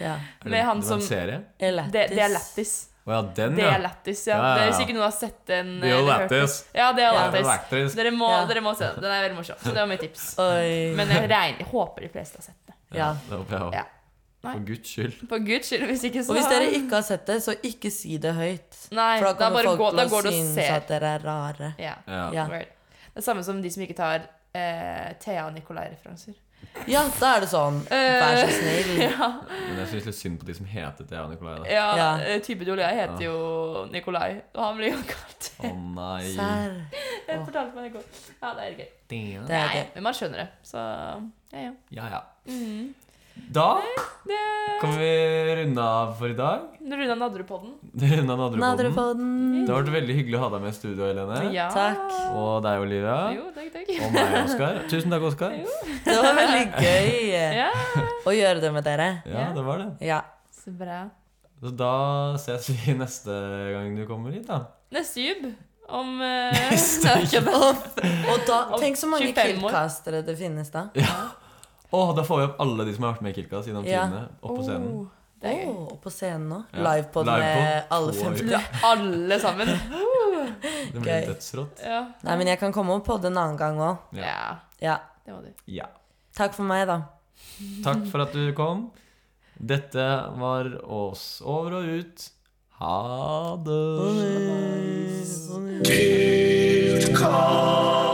Ja. Er det- med han det var en som- serie? Det, det er Elattis. lættis. Å ja, den, Det ja. er lættis, ja. Ja, ja, ja. Det er Hvis ikke noen har sett den Det er jo eller hørt den. lættis. Ja, det er Ja, det er lættis. elektrisk. Dere må, Ja. dere må se den. Den er veldig morsom. Så det var mitt tips. Oi. Men jeg, regner, jeg håper de fleste har sett det. Ja. Det håper jeg òg. Ja. Nei. For guds skyld. For guds skyld, hvis ikke så Og hvis dere ikke har sett det, så ikke si det høyt. Nei, For da da kommer bare folk gå, da til å går du og synes ser. at dere er rare. Ja. Ja. Ja. Word. Det er samme som de som ikke tar eh, Thea og Nicolai-referanser. Ja, da er det sånn. Vær så snill. Eh, Ja. Men jeg syns litt synd på de som heter Thea og Nicolai. da. Ja, Ja. eh, Tybidol, jeg heter Ja. jo Nikolai, og han blir jo kalt Å nei. Serr. Jeg fortalte meg det i går. Ja, det er gøy. Thea. Det er Nei, gøy. men man skjønner det, så ja, ja. Ja, ja. Mm. Da Det kan vi runde av for i dag. Runa Nadderudpodden. Runde av Nadderudpodden. Nadderudpodden. Det har vært veldig hyggelig å ha deg med i studio, Helene. Ja. Takk. Og deg, Olivia. Jo, takk, takk. Og meg, Oskar. Tusen takk, Oskar. Jo. Det var veldig gøy eh, Ja, å gjøre det med dere. Ja, det var det. Ja. så bra. Så da ses vi neste gang du kommer hit, da. Neste jubb om eh, Nei, Og, og da, tenk så mange 25 år. killcastere det finnes da. Åh, da får vi opp alle de som har vært med i Kilkas gjennom Ja. tidene, opp på scenen. Oh, det er gøy. Åh, og på scenen nå. Ja. Livepod Livepod. med alle Oi. 50. Ja, Oh. alle sammen. Det Gøy. blir dødsrått. Ja. Nei, men jeg kan komme og podde en annen gang òg. Ja. ja. Ja. Det må du. Ja. Takk for meg, da. Takk for at du kom. Dette var oss over og ut. Ha det. Ha det. Call.